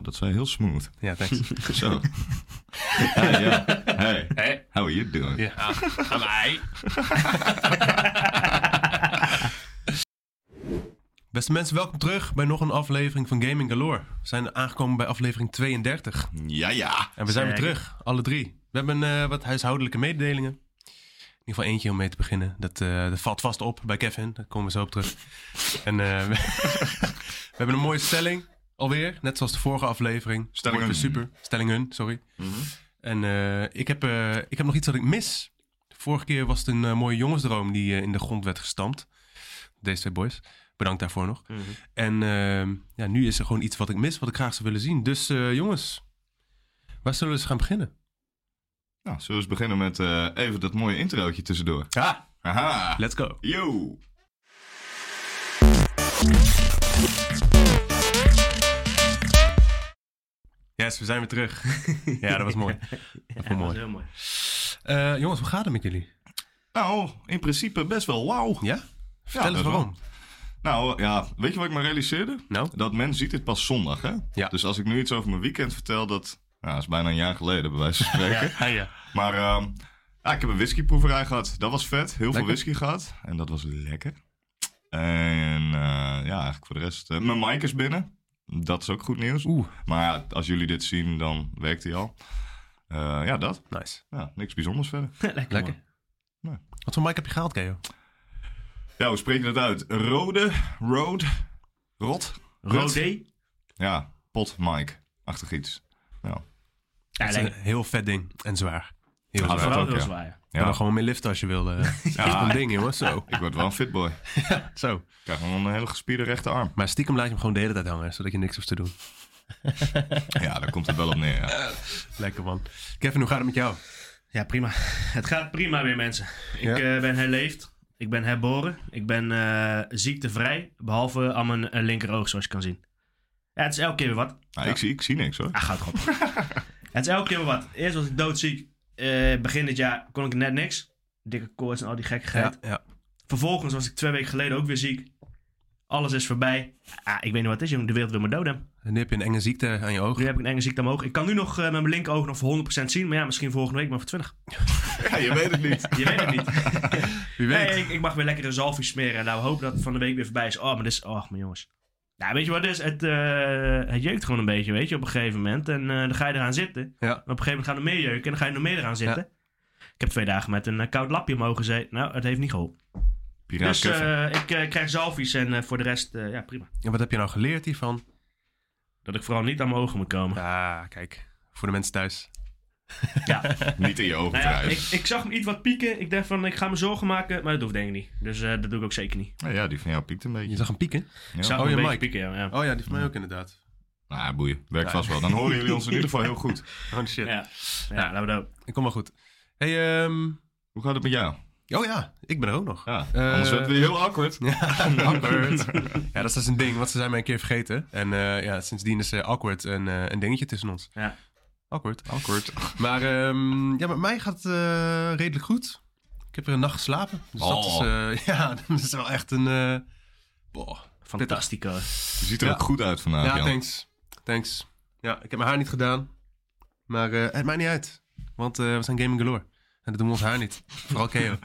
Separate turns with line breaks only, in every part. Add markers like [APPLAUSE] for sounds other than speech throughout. Dat zei heel smooth.
Ja, thanks.
[LAUGHS]
Zo. hey, ja. hey,
Hey,
how are you doing?
Ja.
ah, aan mij.
Beste mensen, welkom terug bij nog een aflevering van Gaming Galore. We zijn aangekomen bij aflevering 32
Ja, ja.
en we zijn weer
Zeker.
terug, alle drie. We hebben eh, wat huishoudelijke mededelingen. In ieder geval eentje om mee te beginnen. Dat, eh, dat valt vast op bij Kevin, daar komen we zo op terug. En eh, [LAUGHS] we, we hebben een mooie stelling alweer, net zoals de vorige aflevering.
Stellingen.
Wordt weer Super, stellingen, sorry.
Mhm.
En eh, ik, heb, eh, ik heb nog iets dat ik mis. Vorige keer was het een eh, mooie jongensdroom die eh, in de grond werd gestampt. Deze twee boys. Bedankt daarvoor nog. En ehm, ja, nu is er gewoon iets wat ik mis, wat ik graag zou willen zien. Dus eh, jongens, waar zullen we eens gaan beginnen?
Nou, zullen we eens beginnen met eh, even dat mooie introotje tussendoor.
Ah,
Haha.
let's go.
Yo.
Yes, we zijn weer [LAUGHS] terug. ja, dat was mooi.
Dat
mooi.
was heel mooi. [LAUGHS]
Eh, jongens, hoe gaat het met jullie?
Nou, in principe best wel wauw.
Ja? Vertel eens
best
waarom.
Nou ja, weet je wat ik me realiseerde?
Nou?
Dat men ziet dit pas zondag, hè?
Ja.
Dus als ik nu iets over mijn weekend vertel, dat nou, is bijna een jaar geleden, bij wijze van spreken.
[LAUGHS] Ja, ja.
Maar ehm, ja, ik heb een whiskyproeverij gehad. Dat was vet. Heel veel
Lekker.
whisky gehad. En dat was lekker. En eh, ja, eigenlijk voor de rest. eh, mijn mic is binnen. Dat is ook goed nieuws.
Oeh,
Maar ja, als jullie dit zien, dan werkt hij al. Eh, ja, dat.
nice.
Ja, niks bijzonders verder.
Lekker,
Lekker.
man.
Wat voor mic heb je gehaald, Keo?
Ja, hoe spreek je dat uit? Rode, road, rot. Rut.
Rodé.
Ja, pot, mic. Achtig iets.
Ja,
Het is
lekker.
een heel vet ding en zwaar. Heel
Ah,
zwaar.
dat
Vooral
ook,
heel
ja.
zwaar.
Je kan
Ja,
er gewoon mee liften als je wilde. eh.
[LAUGHS] Ja,
Echt een ding, jongens.
[LAUGHS]
Zo.
ik word wel een fitboy. Ik
Zo.
krijg gewoon een hele gespierde rechterarm.
Maar stiekem laat je hem gewoon de hele tijd hangen, zodat je niks hoeft te doen.
Ja, daar komt het wel op neer. Ja.
Lekker man. Kevin, hoe gaat het met jou?
Ja, prima. [LAUGHS] Het gaat prima weer, mensen. Ik
Ja.
eh, ben herleefd. Ik ben herboren. Ik ben eh, ziektevrij. Behalve aan mijn eh, linkeroog, zoals je kan zien. Ja, het is elke keer weer wat.
Nou, ik, zie, ik zie niks
[LAUGHS]
hoor.
Ah, gaat goed. het is elke keer weer wat. Eerst was ik doodziek. Eh, begin dit jaar kon ik net niks. Dikke koorts en al die gekkigheid.
ja.
Vervolgens was ik twee weken geleden ook weer ziek. Alles is voorbij. Ah, ik weet niet wat het is, jongen. De wereld wil me doden.
En nu heb je een enge ziekte aan je ogen.
Nu heb ik een enge ziekte omhoog. Ik kan nu nog eh, met mijn linker oog nog voor 100% zien. Maar ja, misschien volgende week maar voor 20.
Ja, je weet het niet.
Je weet het
[LAUGHS]
niet.
Wie weet.
Nee, ik, ik mag weer lekker een zalfje smeren. Nou, we hopen dat het van de week weer voorbij is. Oh, maar dit is... Oh, maar jongens. Nou, weet je wat het is? Het, eh, het jeukt gewoon een beetje, weet je, op een gegeven moment. En eh, dan ga je eraan zitten. En
Ja.
op een gegeven moment gaat het meer jeuken. En dan ga je nog meer eraan zitten. Ik heb twee dagen met een eh, koud lapje omhoog gezeten. Nou, het heeft niet geholpen.
Piraat
dus
Kevin.
eh, ik eh, krijg zalfjes en eh, voor de rest, eh, ja, prima.
En wat heb je nou geleerd hiervan?
Dat ik vooral niet aan mijn ogen moet komen.
Ah, kijk. Voor de mensen thuis.
Niet in je ogen
[LAUGHS] Nou ja,
nou
ik, ik zag hem iets wat pieken. Ik dacht van, ik ga me zorgen maken. Maar dat hoeft denk ik niet. Dus eh, dat doe ik ook zeker niet.
Nou ja, die van jou piekt een beetje.
Je zag hem pieken?
Ik
Ja.
zag
Oh,
hem een
je
beetje
mic.
pieken, ja. ja.
Oh ja, die van mij ook inderdaad.
Nou, ja, boeien. Werkt
Ja.
vast wel. Dan horen jullie ons in ieder geval heel
[LAUGHS]
goed.
Oh shit.
Ja, ja laten we dat.
Ik kom wel goed. hey, ehm,
Hoe gaat het met jou?
oh ja, ik ben er ook nog. [LAUGHS]
Ja,
Eh,
anders werd het weer heel awkward.
awkward. ja, dat is dus een ding, want ze zijn mij een keer vergeten. En eh, ja, sindsdien is eh, awkward een, eh, een dingetje tussen ons.
Ja.
Awkward.
Awkward.
[LAUGHS] Maar ehm, ja, met mij gaat het eh, redelijk goed. Ik heb er een nacht geslapen. Dus dat is,
Oh.
eh, [LAUGHS] ja, dat is wel echt een... eh, boah.
Fantastico.
Je ziet er
Ja.
ook goed uit vandaag,
ja,
Jan.
thanks. Thanks. Ja, ik heb mijn haar niet gedaan. Maar eh, het maakt niet uit. Want eh, we zijn gaming galore. En dat doen we ons haar niet. Vooral Keo.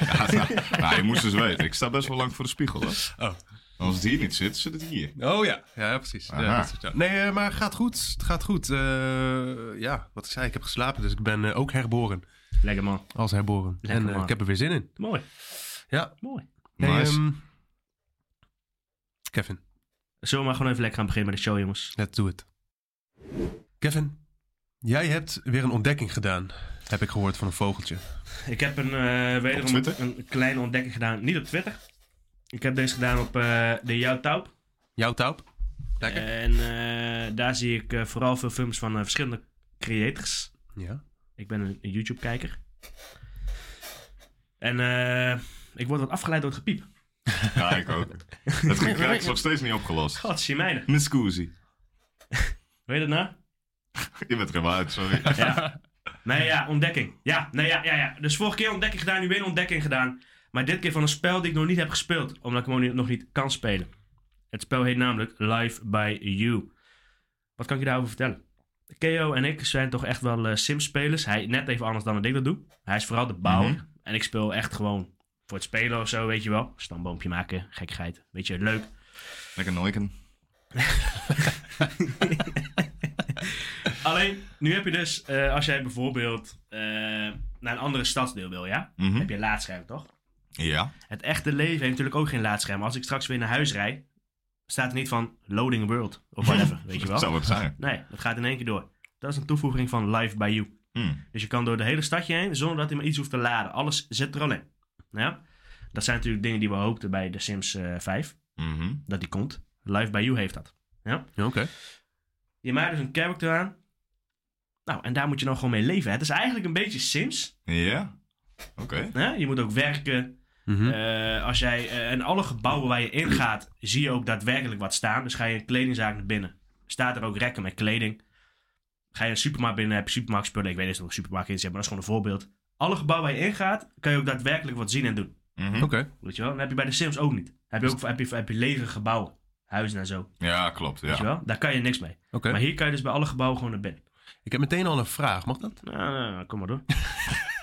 Ja, nou, je moest dus weten. Ik sta best wel lang voor de spiegel, hoor.
Oh.
Als het hier niet zit, zit het hier.
Oh ja, ja precies. Ja,
Aha.
dat soort- ja. Nee, eh, maar het gaat goed. Het gaat goed. Eh, ja, wat ik zei, ik heb geslapen, dus ik ben eh, ook herboren.
Lekker man.
Als herboren.
Lekker,
en eh,
man.
ik heb er weer zin in.
Mooi.
Ja.
Mooi.
Hey,
Nice.
ehm, Kevin,
Zullen we maar gewoon even lekker gaan beginnen met de show, jongens?
let's do it. Kevin, jij hebt weer een ontdekking gedaan. Heb ik gehoord van een vogeltje.
Ik heb een, eh
Op
wederom
Twitter?
een kleine ontdekking gedaan. Niet op Twitter. Ik heb deze gedaan op eh, de Jouw Taup.
Jouw taup? Lekker.
En eh, daar zie ik eh, vooral veel films van eh, verschillende creators.
ja.
Ik ben een, een YouTube-kijker. En eh, ik word wat afgeleid door het gepiep.
Ja, ik
[LAUGHS]
ook. Dat gekraak is nog steeds niet opgelost.
Godzie mijne.
Miss Cousy.
Weet je dat nou?
Je bent er helemaal uit, sorry.
Ja. nee, ja, ontdekking. Ja, nee, ja, ja, ja. Dus vorige keer ontdekking gedaan, nu weer een ontdekking gedaan. Maar dit keer van een spel die ik nog niet heb gespeeld, omdat ik hem ook niet- nog niet kan spelen. Het spel heet namelijk Live by You. Wat kan ik je daarover vertellen? Keo en ik zijn toch echt wel eh Sims-spelers. Hij net even anders dan dat ik dat doe. Hij is vooral de bouwer.
Mhm.
En ik speel echt gewoon voor het spelen of zo, weet je wel. Stamboompje maken, gekkigheid. Weet je, leuk.
Lekker noiken.
Alleen, nu heb je dus, eh, als jij bijvoorbeeld eh, naar een andere stadsdeel wil, ja?
Mhm.
Heb je een laadscherm, toch?
Ja.
Het echte leven heeft natuurlijk ook geen laadscherm. Als ik straks weer naar huis rijd, staat er niet van loading world
[LAUGHS]
of whatever, weet je
Dat
wel.
zou het zijn.
Nee, dat gaat in één keer door. Dat is een toevoeging van Live by You.
Hm.
Dus je kan door de hele stadje heen zonder dat hij maar iets hoeft te laden. Alles zit er al in. Ja? Dat zijn natuurlijk dingen die we hoopten bij The Sims eh, 5,
Mhm.
dat die komt. Live by You heeft dat.
Ja, oké.
Je maakt dus een character aan. Nou, en daar moet je dan gewoon mee leven. Het is eigenlijk een beetje Sims.
Ja. Oké.
Hè? Je moet ook werken.
Mhm.
Eh, als jij, eh, en alle gebouwen waar je in gaat, zie je ook daadwerkelijk wat staan. Dus ga je een kledingzaak naar binnen. Staat er ook rekken met kleding. Ga je een supermarkt binnen, heb je supermarktspullen. Ik weet niet of er een supermarkt in zit, maar dat is gewoon een voorbeeld. Alle gebouwen waar je in gaat, kan je ook daadwerkelijk wat zien en doen.
Mhm.
Oké.
Weet je wel? Dat heb je bij de Sims ook niet. Heb je ook heb je, heb je lege gebouwen, huizen en zo.
Ja, klopt.
Weet je
Ja.
wel? Daar kan je niks mee.
Oké.
Maar hier kan je dus bij alle gebouwen gewoon naar binnen.
Ik heb meteen al een vraag, mag dat?
Nou, nou, nou, kom maar door.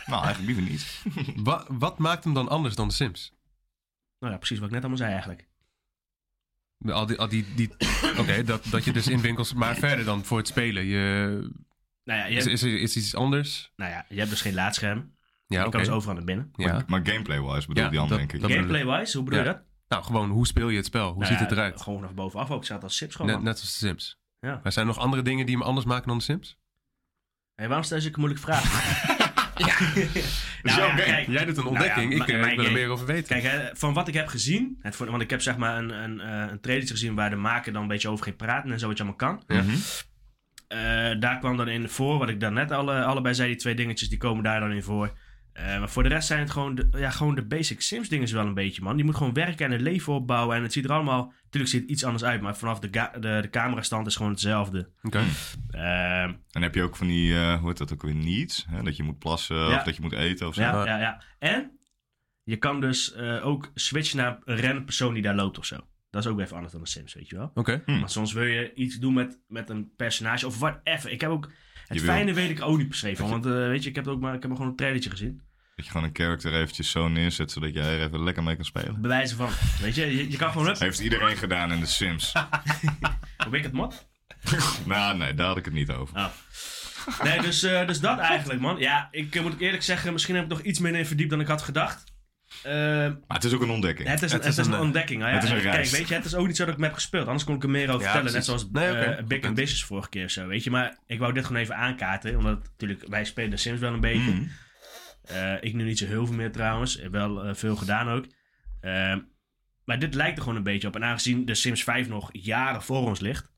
Nou, eigenlijk liever niet.
Wa- wat maakt hem dan anders dan de Sims?
Nou ja, precies wat ik net allemaal zei eigenlijk.
De- Al die, al die,
[COUGHS]
die... Oké, dat, dat je dus in winkels... Maar verder dan voor het spelen. Je...
Nou ja, je
Is,
hebt,
is, er- is iets anders?
nou ja, je hebt dus geen laadscherm.
Ja,
Je
oké.
kan dus overal naar binnen.
Ja.
Maar gameplay-wise bedoel
Ja,
die ander,
dat-
denk ik.
dat- bedoel ik.
Gameplay-wise, hoe bedoel je
Ja.
dat?
Nou, gewoon hoe speel je het spel? Hoe
Nou
ziet
ja,
het eruit?
Gewoon vanaf bovenaf ook. Ik zat als chips gewoon.
Net,
man.
net als de Sims.
Ja.
Maar zijn er nog andere dingen die hem anders maken dan de Sims?
Hé, waarom stel je zulke moeilijke
[LAUGHS]
vragen?
is
nou,
jouw
ja,
game.
kijk,
Jij doet een
Nou
ontdekking.
ja,
ik, eh,
mijn
ik wil er
game.
meer over weten.
kijk hè, van wat ik heb gezien. Het, voor- want ik heb zeg maar een, een, eh, een trailer gezien waar de maker dan een beetje over ging praten en zo wat je allemaal kan.
Mhm.
Eh, daar kwam dan in voor, wat ik daarnet alle, allebei zei, die twee dingetjes, die komen daar dan in voor. Eh, maar voor de rest zijn het gewoon de, ja, gewoon de basic Sims dingen wel een beetje, man. Je moet gewoon werken en een leven opbouwen en het ziet er allemaal... Natuurlijk ziet het iets anders uit, maar vanaf de, ga- de, de camerastand is gewoon hetzelfde.
Oké.
Ehm,
En heb je ook van die, eh, hoe heet dat ook weer, needs? Hè? Dat je moet plassen of dat je moet eten of zo.
ja, ja, ja. En je kan dus eh, ook switchen naar een random persoon die daar loopt of zo. Dat is ook weer even anders dan de Sims, weet je wel.
Oké.
Hm.
Want soms wil je iets doen met, met een personage of whatever. Ik heb ook... Het
Je wil-
fijne weet ik ook niet per se van, want eh, weet je, ik heb, het ook maar, ik heb maar gewoon een trailertje gezien.
Dat je gewoon een character eventjes zo neerzet, zodat jij er even lekker mee kan spelen.
bewijzen van. Weet je, je, je kan gewoon... Hup,
Heeft iedereen gedaan in de Sims.
probeer ik het mot?
nou, nee, daar had ik het niet over.
Oh. Nee, dus, eh, dus dat eigenlijk, man. Ja, ik eh, moet ik eerlijk zeggen, misschien heb ik nog iets minder in verdiept dan ik had gedacht. Ehm,
Maar het is ook een ontdekking.
het is, een-
Het
het
is
is een
een,
ontdekking. nou ja.
het is een
Kijk,
reis.
weet je, het is ook niet zo dat ik hem heb gespeeld. Anders kon ik er meer over vertellen. Net
precies.
zoals
Nee, oké,
eh,
goed
Big
punt.
Ambitious vorige keer of zo, weet je. Maar ik wou dit gewoon even aankaarten. Omdat natuurlijk, wij spelen de Sims wel een beetje.
Hmm.
Mhm.
Eh, ik nu niet zo heel veel meer trouwens. Ik heb Wel eh, veel gedaan ook. Ehm, maar dit lijkt er gewoon een beetje op. En aangezien de Sims 5 nog jaren voor ons ligt,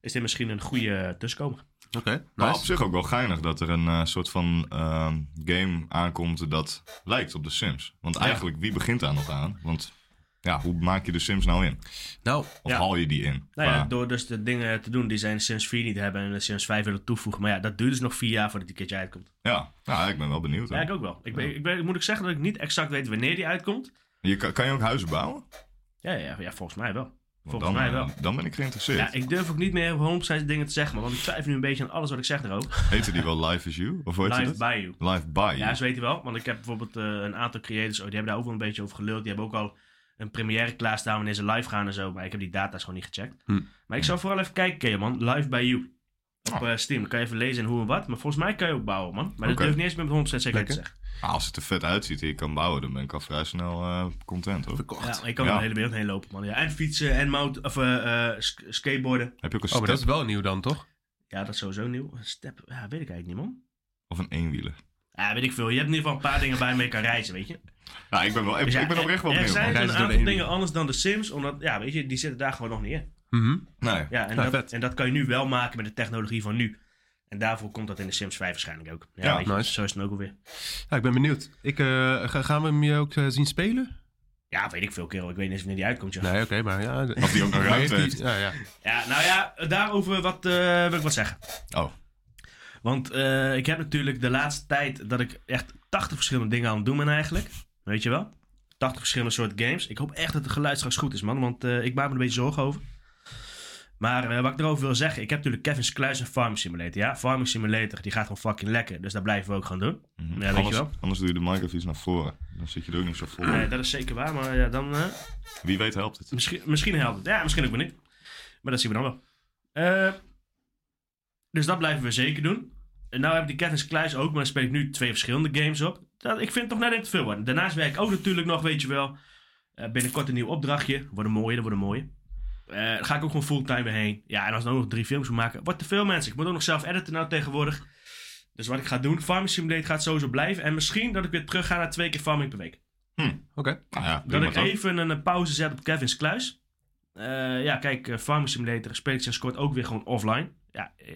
is dit misschien een goede tussenkomer.
Oké.
Maar
Nice.
op zich ook wel geinig dat er een eh, soort van ehm, game aankomt dat lijkt op de Sims. Want eigenlijk, wie begint daar nog aan? Want ja, hoe maak je de Sims nou in?
Nou,
Of
Ja.
haal je die in?
Nou ja,
Qua-
door dus de dingen te doen die zij in Sims 4 niet hebben en de Sims 5 willen toevoegen. Maar ja, dat duurt dus nog vier jaar voordat die keertje uitkomt.
ja. Nou, ik ben wel benieuwd. hoor.
Ja, ik ook wel. Ik, ben-
Ja.
ik, ben- moet ik zeggen dat ik niet exact weet wanneer die uitkomt.
Je, kan, kan je ook huizen bouwen? Want
Ja, ja, ja volgens mij wel. Volgens
dan,
mij
eh,
wel.
Dan ben ik geïnteresseerd.
Ja, ik durf ook niet meer 100% dingen te zeggen, maar want ik twijfel nu een beetje aan alles wat ik zeg erover.
Heette die wel Live is You? Of hoe heet
Live
dat?
by you.
Live by
Ja,
You.
ze weten wel. Want ik heb bijvoorbeeld eh, een aantal creators, oh, die hebben daar ook wel een beetje over geluld. Die hebben ook al een première klaarstaan wanneer ze live gaan en zo. Maar ik heb die data's gewoon niet gecheckt.
Hm.
Maar ik zou vooral even kijken, Kea, man. Live by you. Op eh, Steam. Dan kan je even lezen en hoe en wat. Maar volgens mij kan je ook bouwen, man. Maar dat
Oh. Oké.
durf ik niet eens meer met 100% zekerheid te zeggen.
Ah, als het er vet uitziet en je kan bouwen, dan ben ik al vrij snel eh, content hoor.
verkocht.
Ja, maar je kan
Ja.
er de hele wereld heen lopen, man. Ja, en fietsen en mount, of, eh, eh, sk- skateboarden.
Heb je ook een
Oh,
step
maar dat is wel nieuw dan, toch?
Ja, dat is sowieso nieuw. Step, ja, weet ik eigenlijk niet, man.
of een eenwieler?
Ja, weet ik veel. Je hebt in ieder geval een paar dingen waar je mee kan reizen, weet je.
Nou, ik ben, wel, ik,
Dus ja,
ik ben oprecht wel
er
benieuwd.
zijn
man.
Reizen
een
door de
aantal
heen.
dingen anders dan de Sims, omdat, ja, weet je, die zitten daar gewoon nog niet in.
Mhm.
Nee.
Ja, en,
Ja, vet.
dat, en dat kan je nu wel maken met de technologie van nu. En daarvoor komt dat in de Sims 5 waarschijnlijk ook. Ja,
Ja,
weet je,
nice.
Zo is het dan ook alweer.
Ja, ik ben benieuwd. Ik, eh, ga- gaan we hem je ook eh, zien spelen?
Ja, weet ik veel, kerel. Ik weet niet eens wanneer die uitkomt, joh.
Nee, oké, maar ja.
Of die ook nog
[LAUGHS] Maar heeft
ruimte
die-
heeft.
Ja, ja.
Ja, nou ja, daarover wat, eh, wil ik wat zeggen.
Oh.
Want eh, ik heb natuurlijk de laatste tijd dat ik echt 80 verschillende dingen aan het doen ben eigenlijk. Weet je wel? 80 verschillende soort games. Ik hoop echt dat het geluid straks goed is, man. Want eh, ik maak me er een beetje zorgen over. Maar eh, wat ik erover wil zeggen, ik heb natuurlijk Kevin's Kluis en Farming Simulator. Ja, Farming Simulator, die gaat gewoon fucking lekker. Dus dat blijven we ook gaan doen.
Mhm.
Ja, weet
anders,
je wel.
anders doe je de mic even iets naar voren. Dan zit je er ook niet zo voor.
Nee, Eh, dat is zeker waar, maar ja, dan... eh,
Wie weet helpt het.
Misschien, misschien helpt het. Ja, misschien ook weer niet. Maar dat zien we dan wel. Eh, dus dat blijven we zeker doen. En nou heb ik die Kevin's Kluis ook, maar dan speel ik nu twee verschillende games op. Dat, ik vind het toch net even te veel worden. Daarnaast werk ik ook natuurlijk nog, weet je wel. eh, binnenkort een nieuw opdrachtje. Worden mooie, dat worden mooie. Eh daar ga ik ook gewoon fulltime weer heen. Ja, en als ik dan ook nog drie films moet maken. Wordt te veel mensen. Ik moet ook nog zelf editen nou tegenwoordig. Dus wat ik ga doen, Farming Simulator gaat sowieso blijven. En misschien dat ik weer terug ga naar twee keer farming per week.
Oké.
Nou ja,
Dat
prima
ik
toch?
even een eh, pauze zet op Kevin's kluis. Eh, ja, kijk, eh, Farming Simulator speel ik sinds kort ook weer gewoon offline. Ja, eh,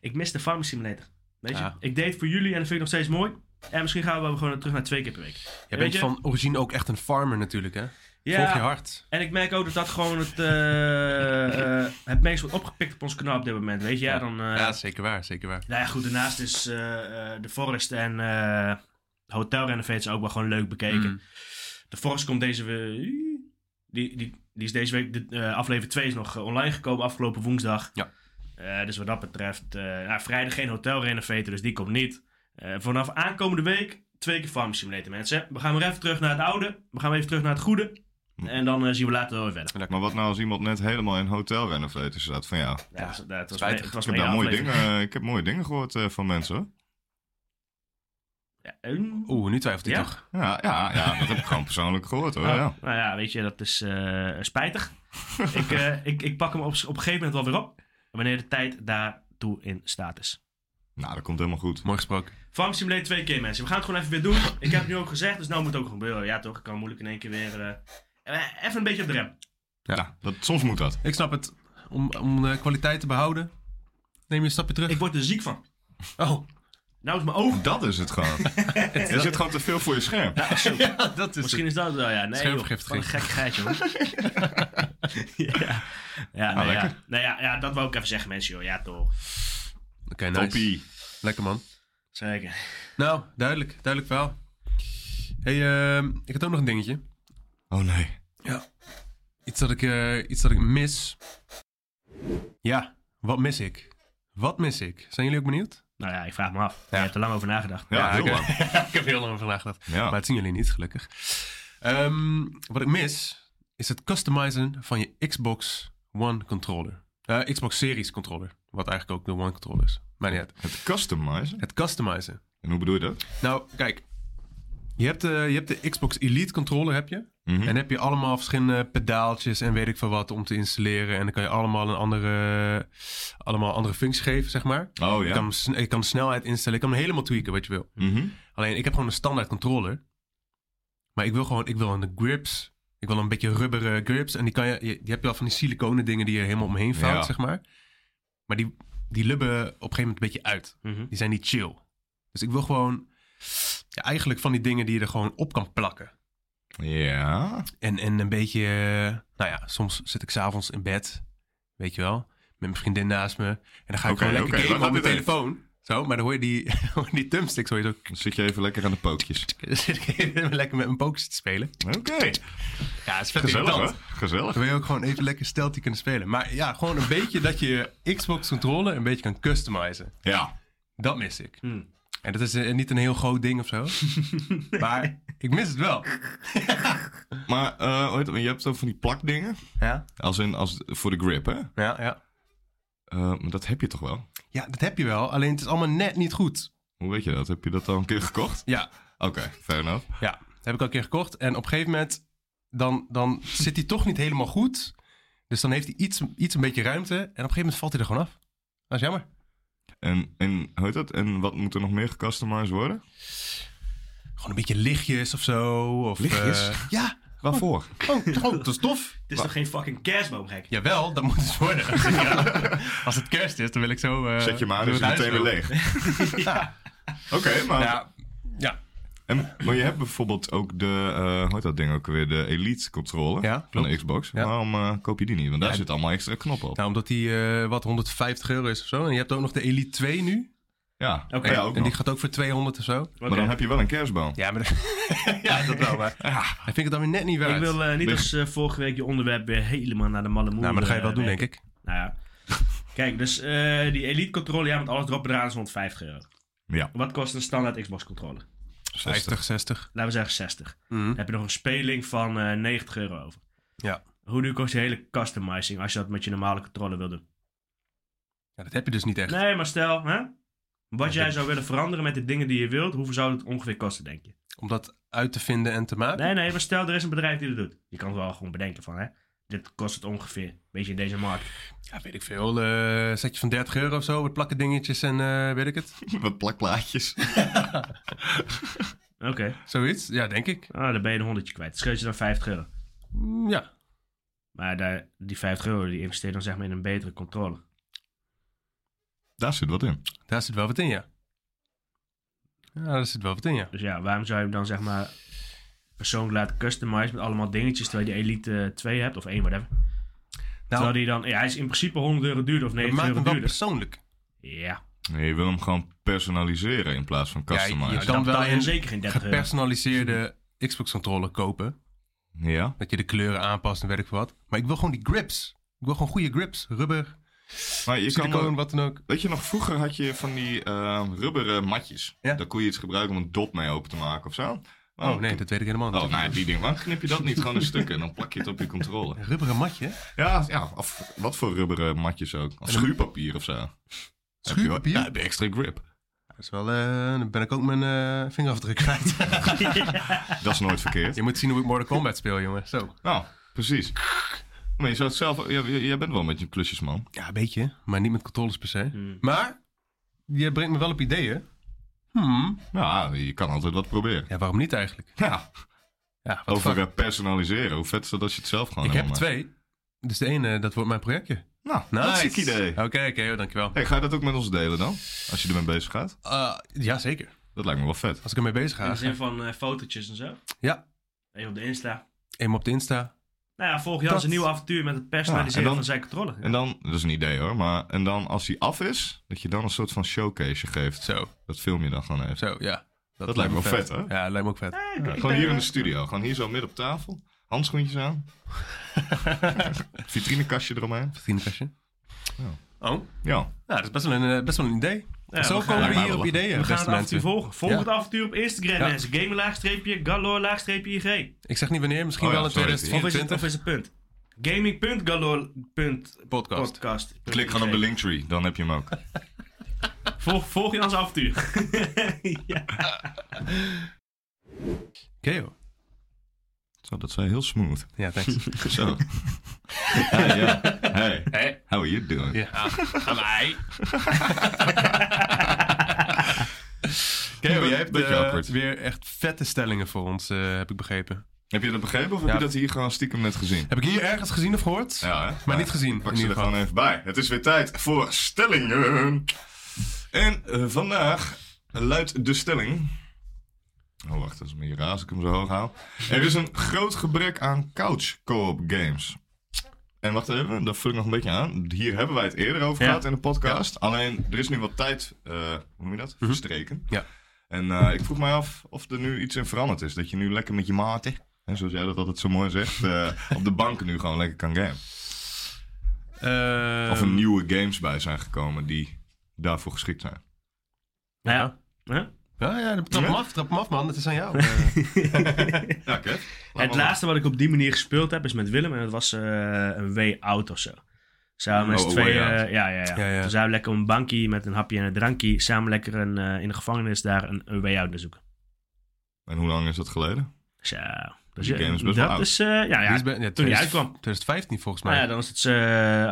ik mis de Farming Simulator. Weet je?
Ja.
Ik deed het voor jullie en dat vind ik nog steeds mooi. En misschien gaan we wel gewoon terug naar twee keer per week.
Jij
Weet
bent
je-
van origine ook echt een farmer natuurlijk, hè? Volg je
Ja,
hart.
en ik merk ook dat dat gewoon het, eh, [LAUGHS] eh, het meest wordt opgepikt op ons kanaal op dit moment. Weet je, ja,
Ja.
dan... eh,
Ja, zeker waar, zeker waar.
Nou ja, goed, daarnaast is eh, eh, de Forest en eh Hotel Renovates ook wel gewoon leuk bekeken.
Mm.
De Forest komt deze week. Die, die, die is deze week. De, eh, aflevering 2 is nog eh, online gekomen afgelopen woensdag.
Ja.
Eh, dus wat dat betreft. eh, nou, vrijdag geen hotel renovator, dus die komt niet. Eh, vanaf aankomende week twee keer Farm Simulator, mensen. We gaan weer even terug naar het oude. We gaan weer even terug naar het goede. En dan eh, zien we later wel weer verder.
Maar wat nou als iemand net helemaal in hotel renovator staat? Van ja,
Ja, dat, dat was,
spijtig.
me- het was
ik heb, daar
me één
mooie
aflevering.
dingen, eh, ik heb mooie dingen gehoord eh, van mensen hoor.
Ja, ehm,
Oeh, nu twijfelt hij
Ja?
toch.
Ja, ja, ja, dat heb ik gewoon persoonlijk gehoord hoor.
Oh,
Ja.
Nou ja, weet je, dat is eh, spijtig. ik, eh, ik, ik pak hem op, op een gegeven moment wel weer op. Wanneer de tijd daartoe in staat is.
Nou, dat komt helemaal goed.
Mooi gesproken.
Farm Simulator twee keer, mensen. We gaan het gewoon even weer doen. Ik heb het nu ook gezegd, dus nou moet het ook gebeuren. Ja toch, ik kan moeilijk in één keer weer... eh, eh, even een beetje op de rem.
Ja, dat, soms moet dat.
Ik snap het. Om, om de kwaliteit te behouden, neem je een stapje terug.
Ik word er ziek van.
Oh, [LAUGHS]
Nou is mijn oog...
Dat is het gewoon. er zit gewoon te veel voor je scherm.
ah, dat is
Misschien is dat wel, ja. Nee, joh, wat een
Schermvergiftiging.
gek geitje, hoor.
[LAUGHS]
ja,
Ah,
ja, nou, ja.
lekker.
Nou ja, ja, dat wou ik even zeggen, mensen, joh. Ja, toch.
Oké, nice.
Toppie.
Lekker man.
Zeker.
Nou, duidelijk. Duidelijk verhaal. hey, ehm, ik had ook nog een dingetje.
Oh nee.
Iets dat ik, eh, iets dat ik mis. Ja, wat mis ik? Wat mis ik? Zijn jullie ook benieuwd? [LAUGHS]
Nou ja, ik vraag me af. Je hebt er lang over nagedacht.
Ja, heel
ik,
lang.
ik heb heel lang vandaag gedacht.
Ja.
Maar het zien jullie niet, gelukkig. Ehm, wat ik mis, is het customizen van je Xbox One controller. Eh, Xbox Series controller. Wat eigenlijk ook de One controller is. Maar niet uit.
Het customizen?
Het customizen.
En hoe bedoel je dat?
Nou, kijk. Je hebt, de, je hebt de Xbox Elite controller, heb je.
Mhm.
En heb je allemaal verschillende pedaaltjes en weet ik veel wat om te installeren. En dan kan je allemaal een andere, allemaal andere functie geven, zeg maar.
Oh
Je,
ja.
kan hem, sn- je kan de snelheid instellen. Je kan hem helemaal tweaken wat je wil.
Mhm.
Alleen, ik heb gewoon een standaard controller. Maar ik wil gewoon, ik wil een grips. Ik wil een beetje rubberen grips. En die kan je, je, die heb je al van die siliconen dingen die je helemaal omheen vouwt,
Ja.
zeg maar. Maar die, die lubben op een gegeven moment een beetje uit
Mhm.
die zijn niet chill. Dus ik wil gewoon ja, eigenlijk van die dingen die je er gewoon op kan plakken.
Ja.
En, en een beetje, eh, nou ja, soms zit ik s'avonds in bed, weet je wel, met mijn vriendin naast me. En dan ga ik
Oké,
gewoon lekker
oké,
gamen
waar
op mijn
gaat dit
telefoon. Zo, maar dan hoor je die, [LAUGHS] hoor je die thumbsticks, hoor je zo. [LAUGHS]
Dan zit je even lekker aan de pootjes.
Dan zit ik even lekker met mijn pokers te spelen.
Oké.
Ja, het is vet
Gezellig
irritant.
hoor. Gezellig.
Dan wil je ook gewoon even lekker steltje kunnen spelen. Maar ja, gewoon een beetje dat je je Xbox controller een beetje kan customizen.
Ja.
Dat mis ik.
Hmm.
En dat is eh, niet een heel groot ding of zo. maar ik mis het wel.
Maar eh, hoe heet het? je hebt het over van die plakdingen.
Ja,
Als in als, voor de grip, hè?
ja, ja.
Eh, maar dat heb je toch wel?
Ja, dat heb je wel. Alleen het is allemaal net niet goed.
Hoe weet je dat? Heb je dat al een keer gekocht?
Ja,
Oké, fair enough.
ja. Dat heb ik al een keer gekocht. En op een gegeven moment, dan, dan zit hij toch niet helemaal goed. Dus dan heeft hij iets, iets een beetje ruimte. En op een gegeven moment valt hij er gewoon af. Dat is jammer.
En, en hoe heet dat? En wat moet er nog meer gecustomized worden?
Oh. Gewoon een beetje lichtjes of zo. Of,
Lichtjes?
eh, ja,
Waarvoor?
gewoon, gewoon, dat is tof.
Het is toch geen fucking kerstboom, gek?
Jawel, dat moet het worden.
[LAUGHS]
Als het kerst is, dan wil ik zo... eh,
Zet je maar aan,
door
is
het
het
huis
meteen weer
lopen.
leeg.
Ja.
Oké,
[LAUGHS]
maar...
Ja, ja.
En, maar je hebt bijvoorbeeld ook de, eh hoe heet dat ding ook weer, de Elite controller
Ja,
van de
klopt.
Xbox.
Ja.
Waarom eh, koop je die niet? Want daar
Ja,
zit allemaal extra knoppen op.
Nou, omdat die eh, wat 150 euro is of zo. En je hebt ook nog de Elite 2 nu.
ja,
Oké.
ja, ook
en
nog.
die gaat ook voor 200 of zo.
Oké.
Maar dan heb je wel een kerstboom.
Ja, maar [LAUGHS] ja dat wel. Maar ik vind ik het dan weer net niet waard.
Ik wil eh, niet
Ligt-
als eh, vorige week je onderwerp weer helemaal naar de malle moer.
nou, maar dat ga je wel
eh,
doen,
werken.
denk ik. [LAUGHS]
Nou ja. Kijk, dus eh, die Elite controller, ja, met alles erop en eraan is rond 50 euro.
Ja,
Wat kost een standaard Xbox controller?
60.
50, 60.
Laten we zeggen 60.
Mhm.
Dan heb je nog een speling van eh, 90 euro over.
Ja.
Hoe nu kost die hele customizing als je dat met je normale controller wil doen?
ja, dat heb je dus niet echt.
Nee, maar stel, hè? Wat jij
dit-
zou willen veranderen met de dingen die je wilt, hoeveel zou het ongeveer kosten, denk je?
Om dat uit te vinden en te maken.
Nee, nee, maar stel, er is een bedrijf die dat doet. Je kan het wel gewoon bedenken van, hè? Dit kost het ongeveer, weet je, in deze markt.
Ja, weet ik veel. eh setje van 30 euro of zo. Met plakken dingetjes en eh, weet ik het.
[LAUGHS] Wat plakplaatjes.
Oké,
Zoiets. Ja, denk ik.
nou, dan ben je een honderdje kwijt. Dan Scheut je dan 50 euro.
Mm, Ja.
Maar daar, die 50 euro, die investeer je dan zeg maar in een betere controller.
Daar zit wat in.
Daar zit wel wat in, ja. Ja, daar zit wel wat in, ja.
Dus ja, waarom zou je hem dan zeg maar persoonlijk laten customizen met allemaal dingetjes, terwijl je die Elite eh, 2 hebt of 1, whatever. terwijl
Nou,
die dan, ja, hij is in principe 100 euro duurder of
dat
90
maakt
euro
hem wel
duurder.
persoonlijk.
Ja,
Nee, je wil hem gewoon personaliseren in plaats van
Ja, je- je
customizen.
kan
Dus dan betaal
wel
je
een
zeker geen 30 euro.
gepersonaliseerde Xbox-controller kopen.
Ja?
Dat je de kleuren aanpast en weet ik wat. Maar ik wil gewoon die grips. Ik wil gewoon goede grips. Rubber,
Maar je kan
siliconen,
wel-
wat dan ook.
Weet je nog, vroeger had je van die eh, rubberen matjes.
Ja.
Daar kon je iets gebruiken om een dop mee open te maken of zo.
Oh, nee, dat weet ik helemaal niet.
Oh, nou ja, die ding. Waarom knip je dat niet gewoon in stukken en dan plak je het op je controle?
Een rubberen matje?
Ja, ja of wat voor rubberen matjes ook. Of schuurpapier of zo. Heb je wel-
Schuurpapier?
Ja, heb je extra grip.
Dat is wel, eh, dan ben ik ook mijn eh, vingerafdruk kwijt.
Dat is nooit verkeerd.
[LAUGHS] je moet zien hoe ik Mortal Kombat speel, jongen. Zo.
Nou, precies. Maar je zou het zelf... ja, j- jij bent wel een beetje een klusjesman.
Ja, een beetje. Maar niet met controles per se.
Hmm.
Maar, je brengt me wel op ideeën. Hmm.
Ja, je kan altijd wat proberen.
Ja, waarom niet eigenlijk?
Ja,
Ja, wat
over eh, personaliseren. Hoe vet is dat als je het zelf gewoon
Ik heb er
helemaal maakt?
twee. Dus de ene, dat wordt mijn projectje.
Nou,
Nice.
dat is een idee.
Oké, oké, hoor, dankjewel.
Hey, ga je dat ook met ons delen dan? Als je ermee bezig gaat?
Eh ja, zeker.
Dat lijkt me wel vet.
Als ik ermee bezig
in
ga.
de zin van eh, fotootjes en zo.
Ja,
Even op de Insta.
even op de Insta.
Nou ja, volg Jan
Dat-
zijn nieuwe avontuur met het
Ja,
personaliseren
en dan-
van zijn controller.
En dan, dat is een idee hoor, maar en dan als hij af is, dat je dan een soort van showcase geeft.
Zo,
Dat film je dan gewoon even.
zo, ja.
Dat lijkt me wel vet, hè?
Ja, lijkt me ook vet.
Ja, ik- ik
Gewoon
ben- eh,
hier in de studio, gewoon hier zo midden op tafel, handschoentjes aan, vitrinekastje eromheen.
Vriendenkastje. Oh, nou,
Ja,
dat is best wel een, eh, best wel een idee.
Ja,
zo
we gaan-
komen
Lijkt
we
mij
hier
wel
op
lachen.
ideeën,
We gaan het
beste
avontuur
mensen.
volgen. Volg
Ja.
het avontuur op Instagram,
Ja.
mensen. Gamer-laagstreepje, galore-laagstreepje, g.
Ik zeg niet wanneer, misschien
Oh ja,
wel in
sorry.
Of is het, of
2024.
is het punt? Gaming.galore.podcast.
Podcast.
klik gewoon op de linktree, dan heb je hem ook.
Volg, volg je ons
[LAUGHS]
avontuur. ja.
Oké, joh.
Zo, dat zei heel smooth.
Ja, thanks.
Zo. [LAUGHS] hey, ja. hey,
[LAUGHS] Hé.
how are you doing?
Ja, aan [LAUGHS] mij.
Beetje
jij hebt eh,
awkward.
weer echt vette stellingen voor ons, eh, heb ik begrepen.
Heb je dat begrepen of heb
Ja.
je dat hier gewoon stiekem net gezien?
Heb ik hier ergens gezien of gehoord?
Ja, hè?
Maar
Ja,
niet gezien,
Pak
in
ze er
ieder
gewoon even bij. Het is weer tijd voor stellingen. En eh, vandaag luidt de stelling. Oh, wacht, dat is meer raar als ik hem zo hoog haal. Er is een groot gebrek aan couch co-op games. En wacht even, dat vul ik nog een beetje aan. Hier hebben wij het eerder over
Ja.
gehad in de podcast. Alleen, er is nu wat tijd, eh, hoe noem je dat? Verstreken.
Mhm. Ja.
En eh, ik vroeg mij af of er nu iets in veranderd is. Dat je nu lekker met je maten, hè, zoals jij dat altijd zo mooi zegt,
[LAUGHS]
eh, op de bank nu gewoon lekker kan gamen.
Ehm,
Of er nieuwe games bij zijn gekomen die daarvoor geschikt zijn.
Nou
Ja.
ja. Huh?
Ja, ja, trap hem af, trap hem af, man. Het is aan [LAUGHS] jou. Eh,
Ja, Kev.
Het laatste wat ik op die manier gespeeld heb is met Willem. En dat was eh, een Way Out of zo. Samen met z'n
Oh,
tweeën.
Way Out.
eh, ja, ja, ja.
Ja, ja.
Toen zijn we lekker op een bankje met een hapje en een drankje. Samen lekker een, eh, in de gevangenis daar een, een Way Out naar zoeken.
En hoe lang is dat geleden?
Dus ja. Dus,
Die
ja,
game is best wel
dat
oud.
is, eh, ja, ja.
Die is bij- ja,
toen die uitkwam.
2015 volgens mij.
Nou ja, dan is het eh, eh,
die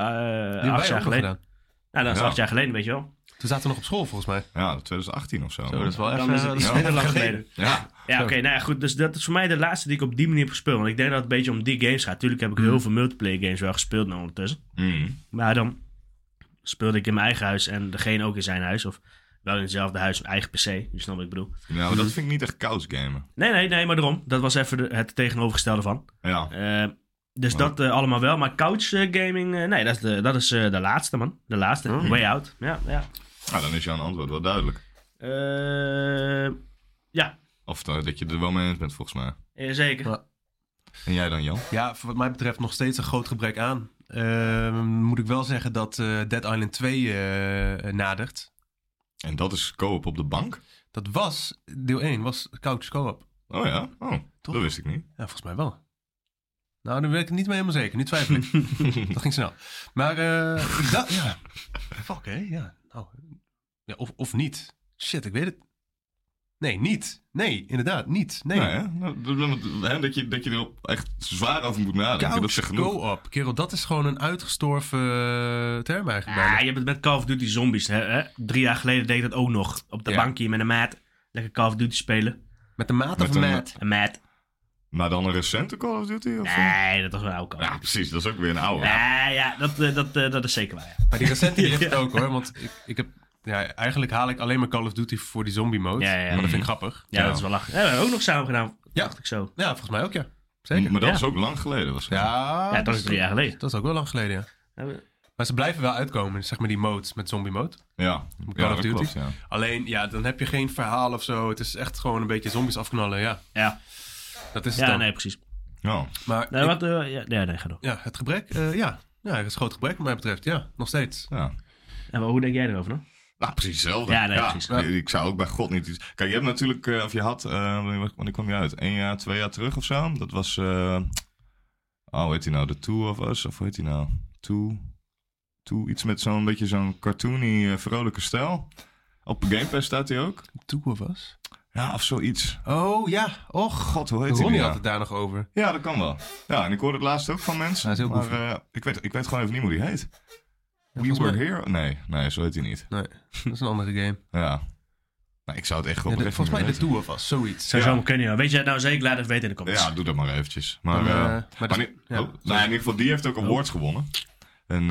hebben
acht
wij
jaar
ook al
geleden.
gedaan.
Nou, dat is
Ja.
acht jaar geleden, weet je wel.
Toen zaten we nog op school volgens mij.
Ja, 2018 of zo.
Zo, Oh, dat is wel
Dan
echt
is het
eh,
iets
[LAUGHS] ja.
minder lang
geleden.
geleden.
Ja,
Ja,
Zo.
oké, nou ja, goed. Dus dat is voor mij de laatste die ik op die manier heb gespeeld. Want ik denk dat het een beetje om die games gaat. Tuurlijk heb ik heel veel multiplayer games wel gespeeld nou ondertussen.
Mm.
Maar dan speelde ik in mijn eigen huis en degene ook in zijn huis. Of wel in hetzelfde huis, eigen PC. Je snapt wat ik bedoel.
ja maar dat vind ik niet echt couch gamen.
Nee, nee, nee, maar daarom. Dat was even de- het tegenovergestelde van.
Ja,
Eh, dus
Oh.
dat eh, allemaal wel. Maar couch eh, gaming, eh, nee, dat is, de, dat is eh, de laatste, man. De laatste. Way out. Ja, ja.
nou, dan is jouw antwoord wel duidelijk.
Eh, ja,
Of eh, dat je er wel mee eens bent, volgens mij.
eh, zeker.
Ja.
En jij dan, Jan?
Ja, voor wat mij betreft nog steeds een groot gebrek aan. Ehm, moet ik wel zeggen dat eh, Dead Island 2 eh, nadert.
En dat is co-op op de bank?
Dat was, deel 1 was Couch Co-op.
Oh ja? Oh,
Toch?
dat wist ik
[LAUGHS]
niet.
Ja, volgens mij wel. Nou, daar weet ik het niet meer helemaal zeker. Nu
[LAUGHS]
twijfel ik. dat ging snel. Maar eh, ik dacht, ja. Fuck, hè? Ja. Nou, ja of, of niet. Shit, ik weet het. Nee, niet. Nee, inderdaad, niet. Nee.
Nou ja, nou, dat- dat- hè, dat, je, dat je erop echt zwaar over moet nadenken. dat
Couch
zegt genoeg.
Co-op. Kerel, dat is gewoon een uitgestorven eh, term eigenlijk.
Ja,
Ah.
bijna.
Ah, je hebt het met Call of Duty Zombies. Hè? hè? Drie jaar geleden deed ik dat ook nog. Op de
Ja.
bankje met een maat. Lekker Call of Duty spelen.
Met de maat of
Met
een
een-
maat?
Een maat.
Maar dan een recente Call of Duty? Of zo?
Nee, dat was een oude Call of
Ja,
Duty.
precies. Dat is ook weer een oude.
Nee, ja, dat, eh, dat, eh, dat is zeker waar.
Maar die
[LAUGHS]
recente die heeft het ook hoor. Want ik, ik heb. Ja, eigenlijk haal ik alleen maar Call of Duty voor die zombie mode.
Ja, ja, ja.
Maar dat vind ik grappig.
Ja, ja dat is wel lachen. Ja, we hebben ook nog samen gedaan.
Ja.
Dacht ik zo.
Ja, volgens mij ook ja. Zeker.
Maar dat
Ja.
is ook lang geleden. Was het.
Ja,
Ja, dat is drie jaar geleden.
Dat is ook wel lang geleden, ja.
Ja, we-
Maar ze blijven wel uitkomen, zeg maar die modes met zombie mode.
ja.
Call of
dat
Duty.
klopt, ja.
Alleen, ja, dan heb je geen verhaal of zo. Het is echt gewoon een beetje zombies afknallen, ja.
Ja,
Dat is het
ja
dan.
nee, precies.
Ja.
Maar
Nee,
ik-
wat, eh, ja, nee, nee, ga door.
ja, het gebrek, eh, ja. Ja, het is een groot gebrek wat mij betreft. Ja, nog steeds.
ja.
En hoe denk jij erover dan?
Nou, precies hetzelfde.
Ja, nee, precies.
ik- Ik zou ook bij God niet iets... Kijk, je hebt natuurlijk... eh, of je had... eh, wanneer- wanneer kwam je uit? Eén jaar, twee jaar terug of zo? Dat was... eh, oh, hoe heet die nou? The Two of Us? Of hoe heet die nou? Two... Two... Iets met zo'n beetje zo'n cartoony, eh, vrolijke stijl. Op Game Pass staat hij ook.
Toe of was?
Ja, of zoiets.
Oh ja, och.
God, hoe heet hij
Ronnie
nou?
had het daar nog over.
Ja, dat kan wel. Ja, en ik hoorde het laatst ook van mensen.
Hij is heel
maar
goofy.
eh, ik, weet, ik weet gewoon even niet hoe die heet. We
volgens
Were
mij-
Here? Nee, nee, zo heet hij niet.
Nee, dat is een andere game.
Ja. Nou, ik zou het echt wel
Ja, de-
oprecht
volgens mij
niet
de Toe of was, zoiets.
Zou zo kunnen, joh. Weet je het nou zeker? Laat het weten in de comments.
Ja, doe dat maar eventjes. Maar,
Dan,
eh,
eh,
maar
maar dus-
niet-
ja.
oh, nou, in ieder geval, die heeft ook awards gewonnen. En, eh,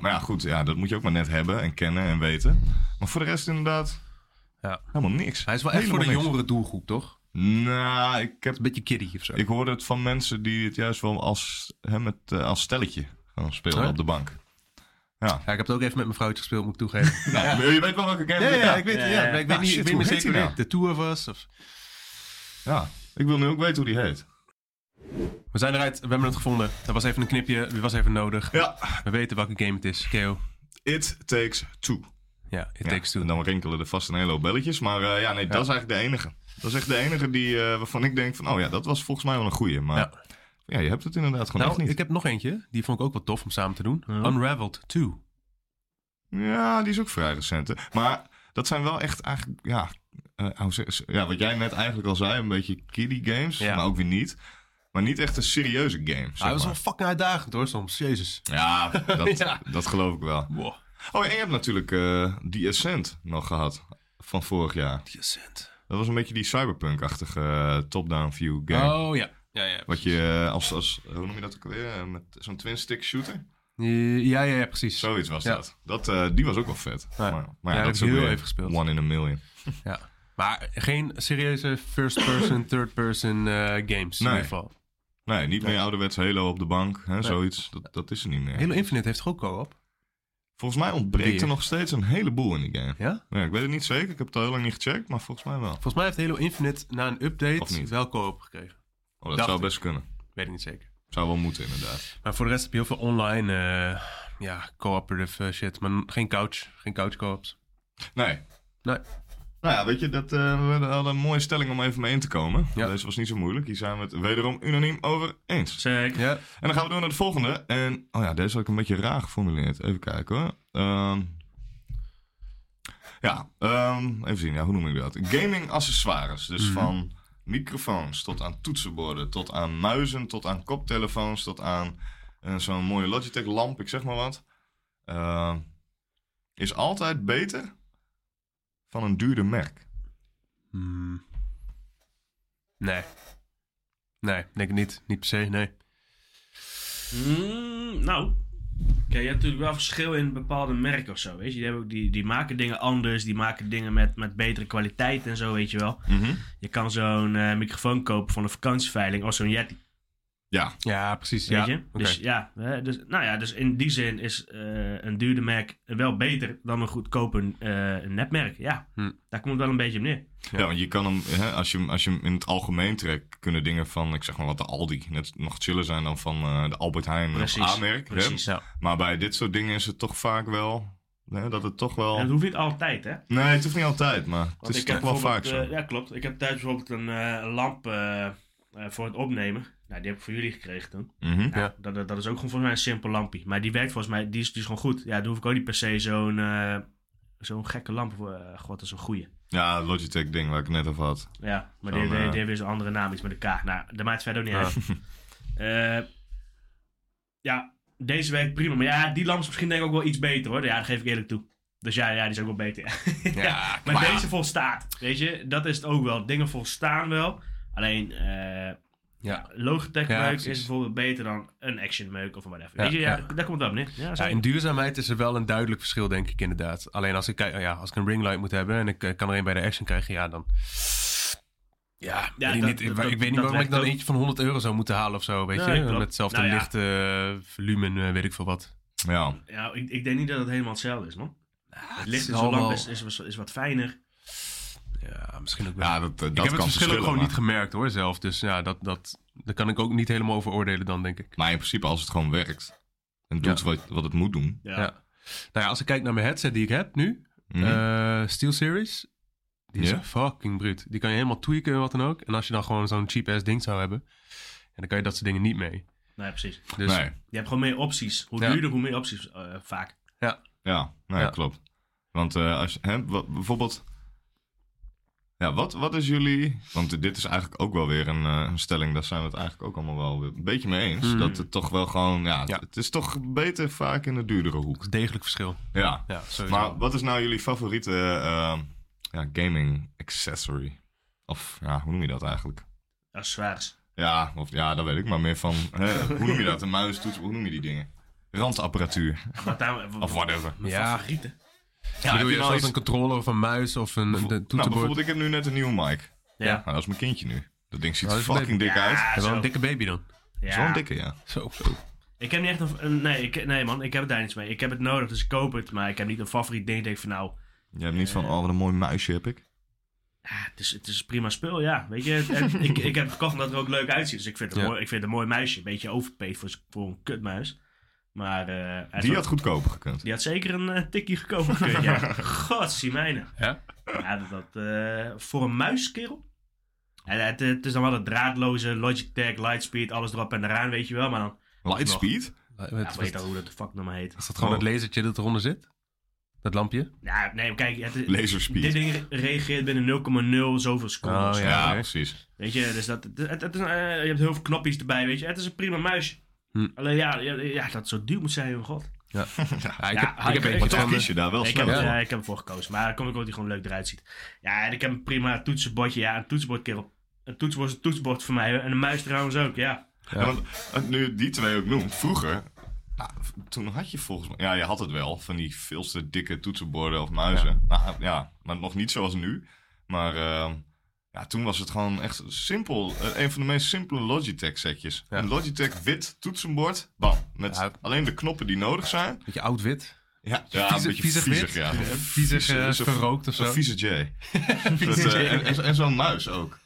maar ja, goed, ja, dat moet je ook maar net hebben en kennen en weten. Maar voor de rest inderdaad
Ja.
helemaal niks.
Hij is wel echt voor de
Helemaal
jongere doelgroep, toch?
niks. Nou, ik, heb,
Een beetje kiddie of zo.
ik hoorde het van mensen die het juist wel als, hè, met, eh, als stelletje gaan spelen
Oh ja?
op de bank. Ja.
Ja, ik heb het ook even met mijn vrouwtje gespeeld, moet ik toegeven.
Nou, Je weet wel welke game
Ja,
het
ja,
is.
ik weet, ja,
Ja,
maar ik
ja.
weet niet,
Shit,
ik weet
hoe
niet
heet
zeker
die
wie
nou?
de tour was. Of...
Ja. Ik wil nu ook weten hoe die heet.
We zijn eruit, we hebben het gevonden. Dat was even een knipje, die was even nodig.
Ja,
We weten welke game het is, KO.
It Takes Two.
Ja, it
Ja,
takes two.
En dan rinkelen er vast een hele hoop belletjes. Maar eh, ja, nee, dat is eigenlijk de enige. Dat is echt de enige die, eh, waarvan ik denk van... Oh ja, dat was volgens mij wel een goeie. Maar ja,
Ja.
je hebt het inderdaad gewoon echt
Nou,
niet.
ik heb nog eentje, die vond ik ook wel tof om samen te doen.
Ja.
Unraveled 2.
Ja, die is ook vrij recent. hè. Maar dat zijn wel echt eigenlijk... Ja, eh, hoe zeg- ja, wat jij net eigenlijk al zei. Een beetje kiddie games.
Ja.
Maar ook weer niet. Maar niet echt een serieuze game.
Hij
Zeg
was wel
maar.
fucking uitdagend hoor, soms. Jezus. [LAUGHS]
Ja, dat,
Ja.
dat geloof ik wel.
Wow.
Oh, en je hebt natuurlijk eh die Ascent nog gehad. Van vorig jaar.
Die Ascent.
Dat was een beetje die cyberpunk-achtige eh, top-down view game.
Oh ja. Ja, ja.
Wat je eh, als, als, hoe noem je dat ook alweer? Eh, Met zo'n twin-stick shooter?
Eh, Ja, ja, ja, precies.
Zoiets was
Ja.
dat. dat eh, die was ook wel vet.
Ja.
Maar,
Ja,
maar ja,
dat
dat
heb
is
ik
ook
heel
weer
even gespeeld.
One in a million.
Ja. Maar geen serieuze first-person, third-person eh, games in
Nee.
ieder geval.
Nee, niet meer ouderwets Halo op de bank. Hè, Zoiets, dat, dat is er niet meer.
Halo Infinite heeft toch ook co-op?
Volgens mij ontbreekt
Weer.
er nog steeds een heleboel in die game.
Ja?
Ja, ik weet het niet zeker. Ik heb het al heel lang niet gecheckt, maar volgens mij wel.
Volgens mij heeft Halo Infinite na een
Of
update
niet?
wel co-op gekregen.
Oh, dat
Dacht
zou
ik.
best kunnen.
Weet ik niet zeker.
Zou wel moeten, inderdaad.
Maar voor de rest heb je heel veel online eh, ja, cooperative eh, shit. Maar geen couch. Geen couch co-ops.
Nee.
Nee.
Nou ja, weet je, dat, eh, we hadden een mooie stelling om even mee in te komen.
Ja.
Deze was niet zo moeilijk. Hier zijn we het wederom unaniem over eens.
Zeker.
Ja.
En dan gaan we door naar de volgende. En, oh ja, deze had ik een beetje raar geformuleerd. Even kijken hoor. Ehm, ja, ehm, even zien. Ja, hoe noem ik dat? Gaming accessoires. Dus van microfoons tot aan toetsenborden, tot aan muizen, tot aan koptelefoons, tot aan eh, zo'n mooie Logitech lamp, ik zeg maar wat. Ehm, is altijd beter van een duurder merk.
Hmm. Nee. Nee, denk ik niet. Niet per se, nee.
Mm, nou. Kijk, je hebt natuurlijk wel verschil in bepaalde merken of zo, weet je. Die, hebben ook- die, die maken dingen anders, die maken dingen met, met betere kwaliteit en zo, weet je wel. Je kan zo'n eh, microfoon kopen van een vakantieveiling of zo'n Yeti.
Ja,
Ja, precies.
Weet
Ja.
je?
Oké.
Dus ja, hè, dus, nou ja, dus in die zin is eh, een duurder merk wel beter dan een goedkope eh netmerk. Ja,
Hm.
daar komt het wel een beetje op neer.
ja. want je kan hem, hè, als, je, hem- als je hem in het algemeen trekt, kunnen dingen van, ik zeg maar wat, de Aldi net nog chiller zijn dan van eh, de Albert Heijn of
Precies.
A-merk. hè.
precies.
Maar bij dit soort dingen is het toch vaak wel, hè, dat het toch wel...
En dat hoeft niet altijd, hè?
Nee, het hoeft niet altijd, maar het
Want
is
ik heb
toch wel vaak
bijvoorbeeld,
zo.
eh, ja, klopt. Ik heb thuis bijvoorbeeld een eh, lamp eh, eh, voor het opnemen. Nou, die heb ik voor jullie gekregen toen.
eh,
Mhm.
Nou, dat, dat- dat is ook gewoon volgens mij een simpel lampje. Maar die werkt volgens mij, die is, die is gewoon goed. Ja, dan hoef ik ook niet per se zo'n eh, zo'n gekke lamp voor. eh, God, dat is een goeie.
Ja, het Logitech ding waar ik het net over had.
Ja, maar
Zo'n,
die, die,
eh,
die heeft weer zo'n andere naam, iets met een K. Nou, dat maakt het verder ook niet
Ja.
uit.
[LAUGHS]
Eh, ja, deze werkt prima. Maar ja, die lamp is misschien denk ik ook wel iets beter hoor. Ja, dat geef ik eerlijk toe. Dus ja, ja die is ook wel beter.
[LAUGHS]
Ja,
Maar deze volstaat. Weet je, dat is het ook wel. Dingen volstaan wel. Alleen, eh
Ja.
Logitech
Ja,
meuk is
precies.
bijvoorbeeld beter dan een Action meuk of whatever.
Ja,
Weet je, ja,
ja.
daar komt het wel op neer. Ja,
Ja,
zo.
in duurzaamheid is er wel een duidelijk verschil, denk ik inderdaad. Alleen als ik, kijk- ja, als ik een ringlight moet hebben en ik eh, kan er een bij de Action krijgen, ja, dan... Ja,
Ja,
weet ik
dat-
niet, ik
dat-
weet niet
dat
waarom ik dan
werkt ook.
eentje van 100 euro zou moeten halen of zo, weet
Nee,
je?
klopt.
Met hetzelfde
Nou ja.
licht, eh, volume, eh, weet ik veel wat.
Ja,
Ja, ik, ik denk niet dat het helemaal hetzelfde is, man. het licht
is
in zo'n lamp
allemaal-
is, is, is, wat fijner.
Ja, misschien ook wel.
ja dat, dat
ik heb
kan
het verschil ook
verschillen,
gewoon
maar-
niet gemerkt hoor, zelf. Dus ja, dat, dat, daar kan ik ook niet helemaal over oordelen dan, denk ik.
Maar in principe, als het gewoon werkt en doet wat, wat het moet doen.
Ja.
Ja. Nou ja, als ik kijk naar mijn headset die ik heb nu,
Mhm.
Eh, Steel Series. Die is
Ja.
fucking bruut. Die kan je helemaal tweaken en wat dan ook. En als je dan gewoon zo'n cheap ass ding zou hebben. En dan kan je dat soort dingen niet mee.
Nee, precies.
Dus
nee,
Je hebt gewoon meer opties. Hoe
Ja.
duurder, hoe meer opties eh, vaak.
ja, nee
Ja.
klopt. Want eh, als, hè, wa- bijvoorbeeld, ja, wat, wat is jullie... Want dit is eigenlijk ook wel weer een, eh, een stelling, daar zijn we het eigenlijk ook allemaal wel weer een beetje mee eens.
Mhm.
Dat het toch wel gewoon, ja, het-
Ja.
het is toch beter vaak in de duurdere hoek.
dat is degelijk verschil.
Ja,
Ja, sowieso.
maar wat is nou jullie favoriete eh, ja, gaming accessory? Of ja, hoe noem je dat eigenlijk?
Accessoires.
Ja, of, ja, dat weet ik maar meer van. Hè, hoe noem je dat? Een muis, toets, hoe noem je die dingen? Randapparatuur.
Wat daar,
Of whatever.
Mijn
Ja.
favorieten.
Ja,
Bedoel je
heb je nou
zoals
iets-
een controller of een muis of een, een
Nou,
toetsenbord?
bijvoorbeeld, ik heb nu net een nieuwe mic.
Ja.
Nou, dat is mijn kindje nu. Dat ding ziet
Nou,
er
dat is
fucking dik uit.
Ja,
Heb je wel
zo.
een dikke baby dan.
Ja.
Zo'n dikke, ja.
Zo.
Ik heb niet echt een... een- Nee, ik, nee, man. Ik heb het daar niets mee. Ik heb het nodig, dus ik koop het. Maar ik heb niet een favoriet ding. Ik denk van, nou...
Jij hebt niet van, oh, wat een mooi muisje heb ik.
ah, het, is, het is een prima spul, ja. Weet je, het- het- ik, ik heb het gekocht omdat het er ook leuk uitziet. Dus ik vind het,
Ja.
mooi, ik vind het een mooi muisje. Een beetje overpaid voor, voor een kutmuis. Maar... eh, hij is
Die
wel-
had goedkoper gekund.
die had zeker een eh, tikkie
[LAUGHS]
gekomen. gekund, ja. Godzimijnen.
Ja?
Ja, dat, dat, eh, voor een muis, kerel. En het, het is dan wel het draadloze Logitech, Lightspeed, alles erop en eraan, weet je wel. Maar dan,
Lightspeed?
ja, ik weet al hoe dat de fuck nou maar heet.
is dat gewoon
Oh.
dat lasertje dat eronder zit? Dat lampje?
Ja, nee, kijk, het, is- dit
Laserspeed.
ding re- reageert binnen 0,0 zoveel seconden.
Oh,
Ja,
Ja, oké.
precies.
Weet je, dus dat, het, het- het is, een, eh, je hebt heel veel knopjes erbij, weet je. Het is een prima muisje.
Hm.
Alleen ja, ja, ja, dat het zo duur moet zijn, oh god.
Ja, ik
[LAUGHS] Ja,
heb, ik heb
ik-
eentje
Maar
van eh,
toch
de-
kies je daar wel
ik, heb,
snel
het,
voor.
ja, ik heb ervoor gekozen, maar dan kom ik ook dat hij gewoon leuk eruit ziet. Ja, en ik heb een prima toetsenbordje. Ja, een toetsenbord, kerel. Een toetsenbord is een toetsenbord voor mij. hè. En een muis trouwens ook, ja.
Ja, want, eh, nu je die twee ook noemt, vroeger, nou, v- toen had je volgens mij, ja, je had het wel, van die veelste dikke toetsenborden of muizen. Nou, ja, maar nog niet zoals nu. Maar ehm, ja, toen was het gewoon echt simpel, eh, een van de meest simpele Logitech setjes.
Ja.
Een Logitech wit toetsenbord, bam, met
Ja.
alleen de knoppen die nodig zijn.
Beetje oud-wit.
Ja, ja
viezig-
een beetje
viezig
viezig,
wit?
ja.
Viezig eh,
Vieze-
verrookt of zo.
Een vieze
[LAUGHS]
J. [LAUGHS] Dat, eh, en [LAUGHS] en- en zo'n muis ook.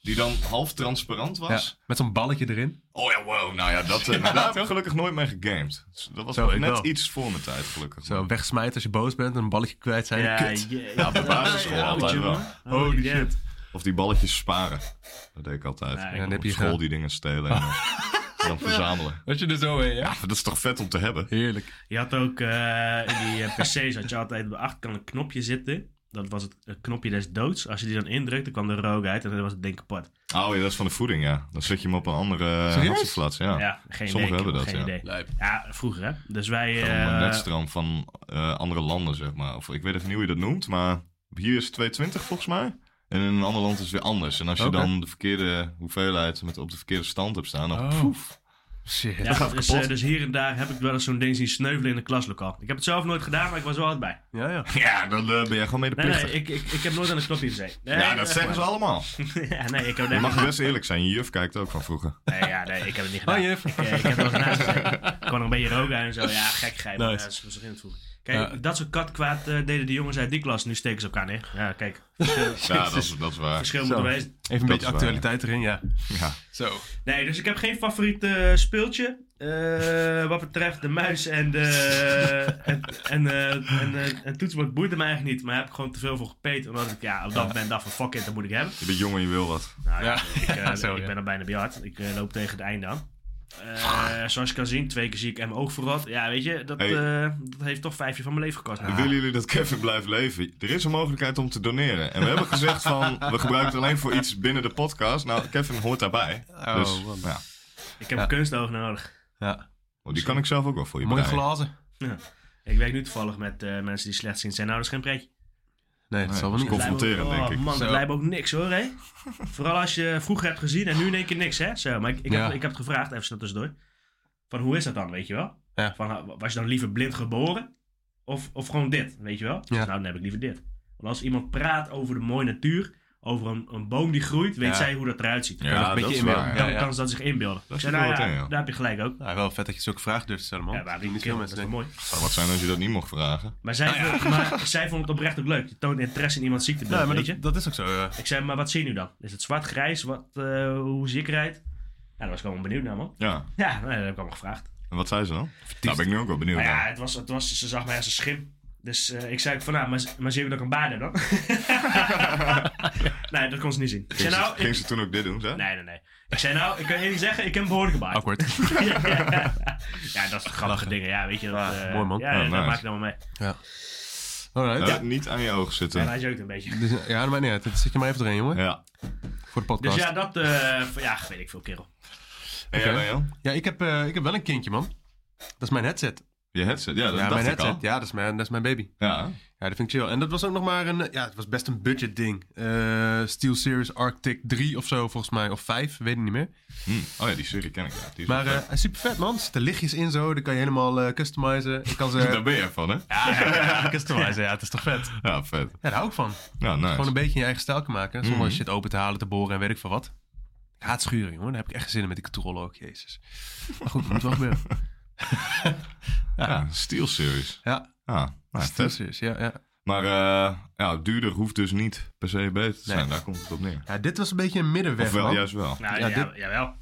Die dan half transparant
Ja,
was.
met zo'n balletje erin.
Oh ja, wow. Nou ja, dat, eh, maar daar heb ik gelukkig nooit mee gegamed. Dus dat was
Zo, ik
net
wel.
iets voor mijn tijd, gelukkig.
Zo wegsmijten als je boos bent en een balletje kwijt zijn.
Ja,
Kut.
je-
Ja, op de basisschool
Ja,
altijd
goed,
wel.
jongen. Holy shit.
Of die balletjes sparen. Dat deed ik altijd.
Ja,
Ja, dan
ik
heb
heb
je
je school
gedaan.
die dingen stelen en eh, dan verzamelen.
Als je er zo heen,
Ja, dat is toch vet om te hebben?
Heerlijk.
Je had ook eh, in die eh, PC's had je altijd op de achterkant een knopje zitten. Dat was het, het knopje des doods. Als je die dan indrukte, kwam de rook uit en dan was het ding kapot.
Oh ja, dat is van de voeding, ja. Dan zet je hem op een andere
Serieus?
hotsenflats, ja.
Ja,
ja.
geen idee.
sommigen hebben
kerel,
dat,
geen
ja.
idee. Ja, vroeger hè. Dus wij...
Een
eh,
netstroom van eh, andere landen, zeg maar. Of ik weet even niet hoe je dat noemt, maar hier is 220 volgens mij. En in een ander land is het weer anders. En als je
Oké.
dan de verkeerde hoeveelheid met op de verkeerde stand hebt staan, dan
Oh.
poef,
Shit.
Ja,
Dat gaat
dus,
kapot.
eh, dus hier en daar heb ik wel eens zo'n ding zien sneuvelen in een klaslokaal. Ik heb het zelf nooit gedaan, maar ik was er wel altijd bij.
ja, ja.
Ja, dan eh, ben jij gewoon
Nee,
medeplichtig.
nee, ik, ik, ik heb nooit aan een knopje gezeten. Nee,
ja,
eh,
dat zeggen ze allemaal.
[LAUGHS] ja, nee, ik heb,
Je
nee,
mag best eerlijk zijn. Je juf kijkt ook van
[LAUGHS]
vroeger.
nee, ja, nee, ik heb het niet gedaan.
Oh, juf.
Ik, eh, ik heb er wel naast gezeten. Ik kon nog een beetje roken en zo. Ja, gek grijpen.
Nice.
Ja, dat is misschien in het voer. Kijk,
Ja.
dat soort katkwaad eh, deden de jongens uit die klas. Nu steken ze elkaar neer. Ja, kijk.
[LAUGHS]
Ja, dat is, dat is waar.
Verschil moet
Zo.
er wezen.
Even
Dat
een beetje
is waar.
actualiteit erin, ja.
Ja.
Zo.
Nee, dus ik heb geen favoriet eh, speeltje. Eh, wat betreft de muis en de en, en, eh, en, eh, en toetsenbord boeit hem eigenlijk niet. Maar daar heb ik gewoon te veel voor gepeet. Omdat ik ja, op dat moment dacht van fuck it, dat moet ik hebben.
Je bent jong en je wil wat.
[LAUGHS]
Nou,
Ja.
ik, eh,
Zo,
ik
ja.
ben al bijna bejaard. Ik eh, loop tegen het einde aan. Eh,
Ah.
zoals je kan zien, twee keer zie ik hem oog verrot. Ja, weet je, dat,
Hey.
eh, dat heeft toch vijf jaar van mijn leven gekost. Nou,
Willen jullie dat Kevin blijft leven? Er is een mogelijkheid om te doneren. En we hebben gezegd van, we gebruiken het alleen voor iets binnen de podcast. Nou, Kevin hoort daarbij. [LAUGHS]
Oh,
dus,
man.
ja.
Ik heb
Ja.
een kunstoog nodig.
Ja.
Want die kan ik zelf ook wel voor je
Mooie
breien.
glazen.
Ik werk nu toevallig met eh, mensen die slechtziend zijn. Nou, dat is geen pretje.
Nee, dat
Nee,
zal wel
dat
niet.
is Confronterend,
Oh,
denk ik.
Man, dat
Zo.
lijkt me ook niks hoor, hè? Vooral als je vroeger hebt gezien en nu in één keer niks, hè? Zo, maar ik, ik,
Ja.
heb, ik heb het gevraagd, even snel tussendoor. Van hoe is dat dan, weet je wel?
Ja.
Van, ha- was je dan liever blind geboren? Of, of gewoon dit, weet je wel? Dus
Ja.
nou, dan heb ik liever dit. Want als iemand praat over de mooie natuur, over een, een boom die groeit, weet
Ja.
zij hoe dat eruit ziet.
Ja,
Ja,
dat
een beetje
is
inbeelden.
waar.
Ja,
Dan kan ze dat zich inbeelden.
is
Ik zei,
wel
nou
wat
ja,
in, ja.
daar heb je gelijk ook.
Nou, wel vet dat je zulke vragen durft te stellen, man.
Ja, waar
niet
niet
veel
veel
mensen
dat is wel
denken.
mooi.
Zou wat zijn als je dat niet mocht vragen?
Maar zij, vond- maar zij vond het oprecht ook leuk. Je toont interesse in iemands ziektebeeld,
Nee, maar
weet je?
dat, dat is ook zo. eh.
Ik zei, maar wat zie je nu dan? Is het zwart-grijs? Wat, eh, hoe zie ik eruit? Nou, daar was ik allemaal benieuwd naar, man.
Ja.
Ja, nou, dat heb ik allemaal gevraagd.
En wat zei ze dan? Daar ben ik nu ook wel benieuwd
Maar ja,
naar.
het was, het was, ze zag mij als een schim. Dus eh, ik zei ook van, nou, maar, maar zie je dat ik een baard
[LAUGHS]
heb dan? nee, dat kon ze niet zien. Ik zei,
Ging, ze-
nou...
ging
Ik,
ze toen ook dit doen, hè?
nee, nee, nee. Ik zei, nou, ik kan je niet zeggen, ik heb een behoorlijke baard.
Awkward.
[LAUGHS]
[LAUGHS]
ja, ja, dat is grappige
Lachen.
dingen. Ja, weet je, dat...
Ja,
eh,
mooi, man.
Ja,
Ja,
dat
nice.
maak ik dan wel mee.
Alright.
Laat
Ja,
het Niet aan je ogen
Ja,
zitten.
hij jeukt een beetje.
dus, ja maar nee, dat zit je maar even erin, jongen.
Ja.
Voor de
Dus
podcast.
ja,
ja,
dat... eh, van- ja, weet ik veel, kerel.
En
Oké.
jij Daniel?
ik, heb, eh, ik heb wel een kindje, man. Dat is mijn headset.
Je headset? Ja, dat
ja,
dacht
mijn
ik
headset.
al.
Ja, dat is mijn, dat is mijn baby.
Ja.
Ja, dat vind ik chill. En dat was ook nog maar een... eh, Ja, het was best een budget ding. Eh Steel Series Arctic 3 of zo, volgens mij. Of 5, weet ik niet meer.
Hm. Oh ja, die serie ken ik. Ja. Die is
Maar
wel
eh,
vet.
hij is super vet, man. Er zitten lichtjes in zo. Dan kan je helemaal eh, customizen.
[LAUGHS]
Ik kan
Daar
ze...
ben je van, hè?
ja, [LAUGHS] customizen. Ja, het is toch vet. Ja,
Ja, vet.
daar hou ik van.
Ja, nice.
Gewoon een beetje je eigen stijl kan maken. Zonder
Mhm.
shit open te halen, te boren en weet ik veel wat. Ik haat schuren, jongen. Daar heb ik echt geen zin in met die controle ook. Jezus. Maar goed, dat moet wel
[LAUGHS]
gebeuren.
Ja, Steel Series.
Ja,
Ja, nou,
Steel
vet.
Series. Ja, ja.
Maar eh, ja, duurder hoeft dus niet per se beter te zijn.
Nee.
Daar komt het op neer.
ja, dit was een beetje een middenweg,
Of wel,
man.
juist wel.
Nou,
Ja,
ja,
dit-
jawel.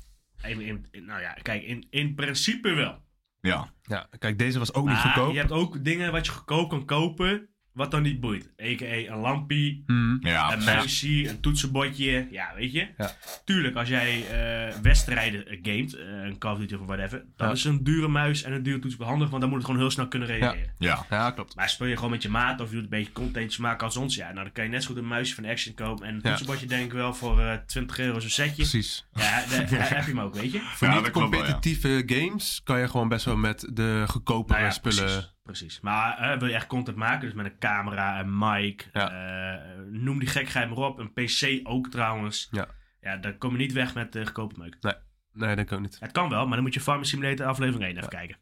In, in- in- nou ja, kijk, in, in principe wel.
Ja.
Ja, kijk, deze was ook niet
Maar
goedkoop.
je hebt ook dingen wat je goedkoop kan kopen, wat dan niet boeit. A.k.a. een lampie,
Mhm.
Ja,
een
precies.
muisje, een toetsenbordje. Ja, weet je.
Ja.
Tuurlijk, als jij eh, wedstrijden eh, gamet, eh, een Call of Duty of whatever, dan
Ja.
is een dure muis en een dure toetsenbord handig, want dan moet het gewoon heel snel kunnen reageren.
Ja.
Ja, klopt.
Maar speel je gewoon met je maat of je doet een beetje contentjes maken als ons, ja, nou dan kan je net zo goed een muisje van Action kopen en een toetsenbordje denk ik wel voor eh, 20 euro zo'n setje.
Precies.
Ja, daar, daar heb je hem ook, weet je.
Voor
Ja, dat klopt wel, ja.
niet-competitieve games kan je gewoon best wel met de goedkopere
Nou ja,
spullen...
Precies, precies. Maar eh, wil je echt content maken, dus met een camera, een mic,
Ja.
eh, noem die gekheid maar op. Een PC ook trouwens.
Ja.
Ja, dan kom je niet weg met eh goedkope meuk.
Nee, dat kan ook niet.
Het kan wel, maar dan moet je Farming Simulator aflevering 1 even kijken.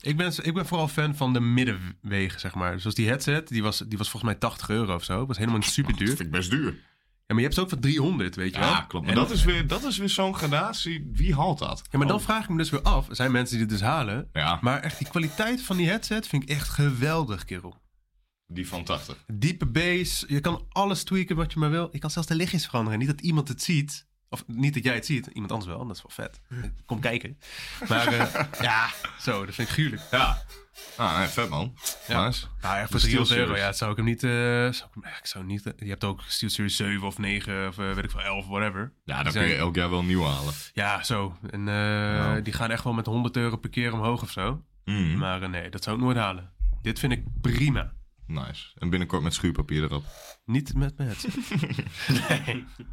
Ik ben, ik ben vooral fan van de middenwegen, zeg maar. Zoals die headset, die was, die was volgens mij 80 euro of zo. Was helemaal niet super
Dat
duur.
vind ik best duur.
Ja, maar je hebt ze ook voor 300, weet je wel.
Ja, klopt. Maar dat is weer, dat is weer zo'n gradatie. Wie haalt dat? Oh,
Ja, maar dan vraag ik me dus weer af. Er zijn mensen die dit dus halen.
Ja,
Maar echt, die kwaliteit van die headset vind ik echt geweldig, kerel.
die van 80.
Diepe bass, je kan alles tweaken wat je maar wil. Je kan zelfs de lichtjes veranderen. Niet dat iemand het ziet. Of niet dat jij het ziet, iemand anders wel. Dat is wel vet. Kom kijken. Maar eh, ja, zo, dat vind ik gruwelijk.
Ja. Ah, nee, vet man.
Ja.
Nice.
Nou, echt voor
De
300 euro,
SteelSeries.
ja, dat zou ik hem niet... eh, zou ik, hem- ja, ik zou hem niet eh, je hebt ook SteelSeries 7 of 9 of eh, weet ik veel, 11, whatever.
Ja,
Die
dan kun je
zijn-
elk jaar wel nieuw halen.
Ja, zo. En eh, die gaan echt wel met 100 euro per keer omhoog of zo.
Mm.
Maar eh, nee, dat zou ik nooit halen. Dit vind ik prima.
Nice. En binnenkort met schuurpapier erop.
Niet met mijn headset.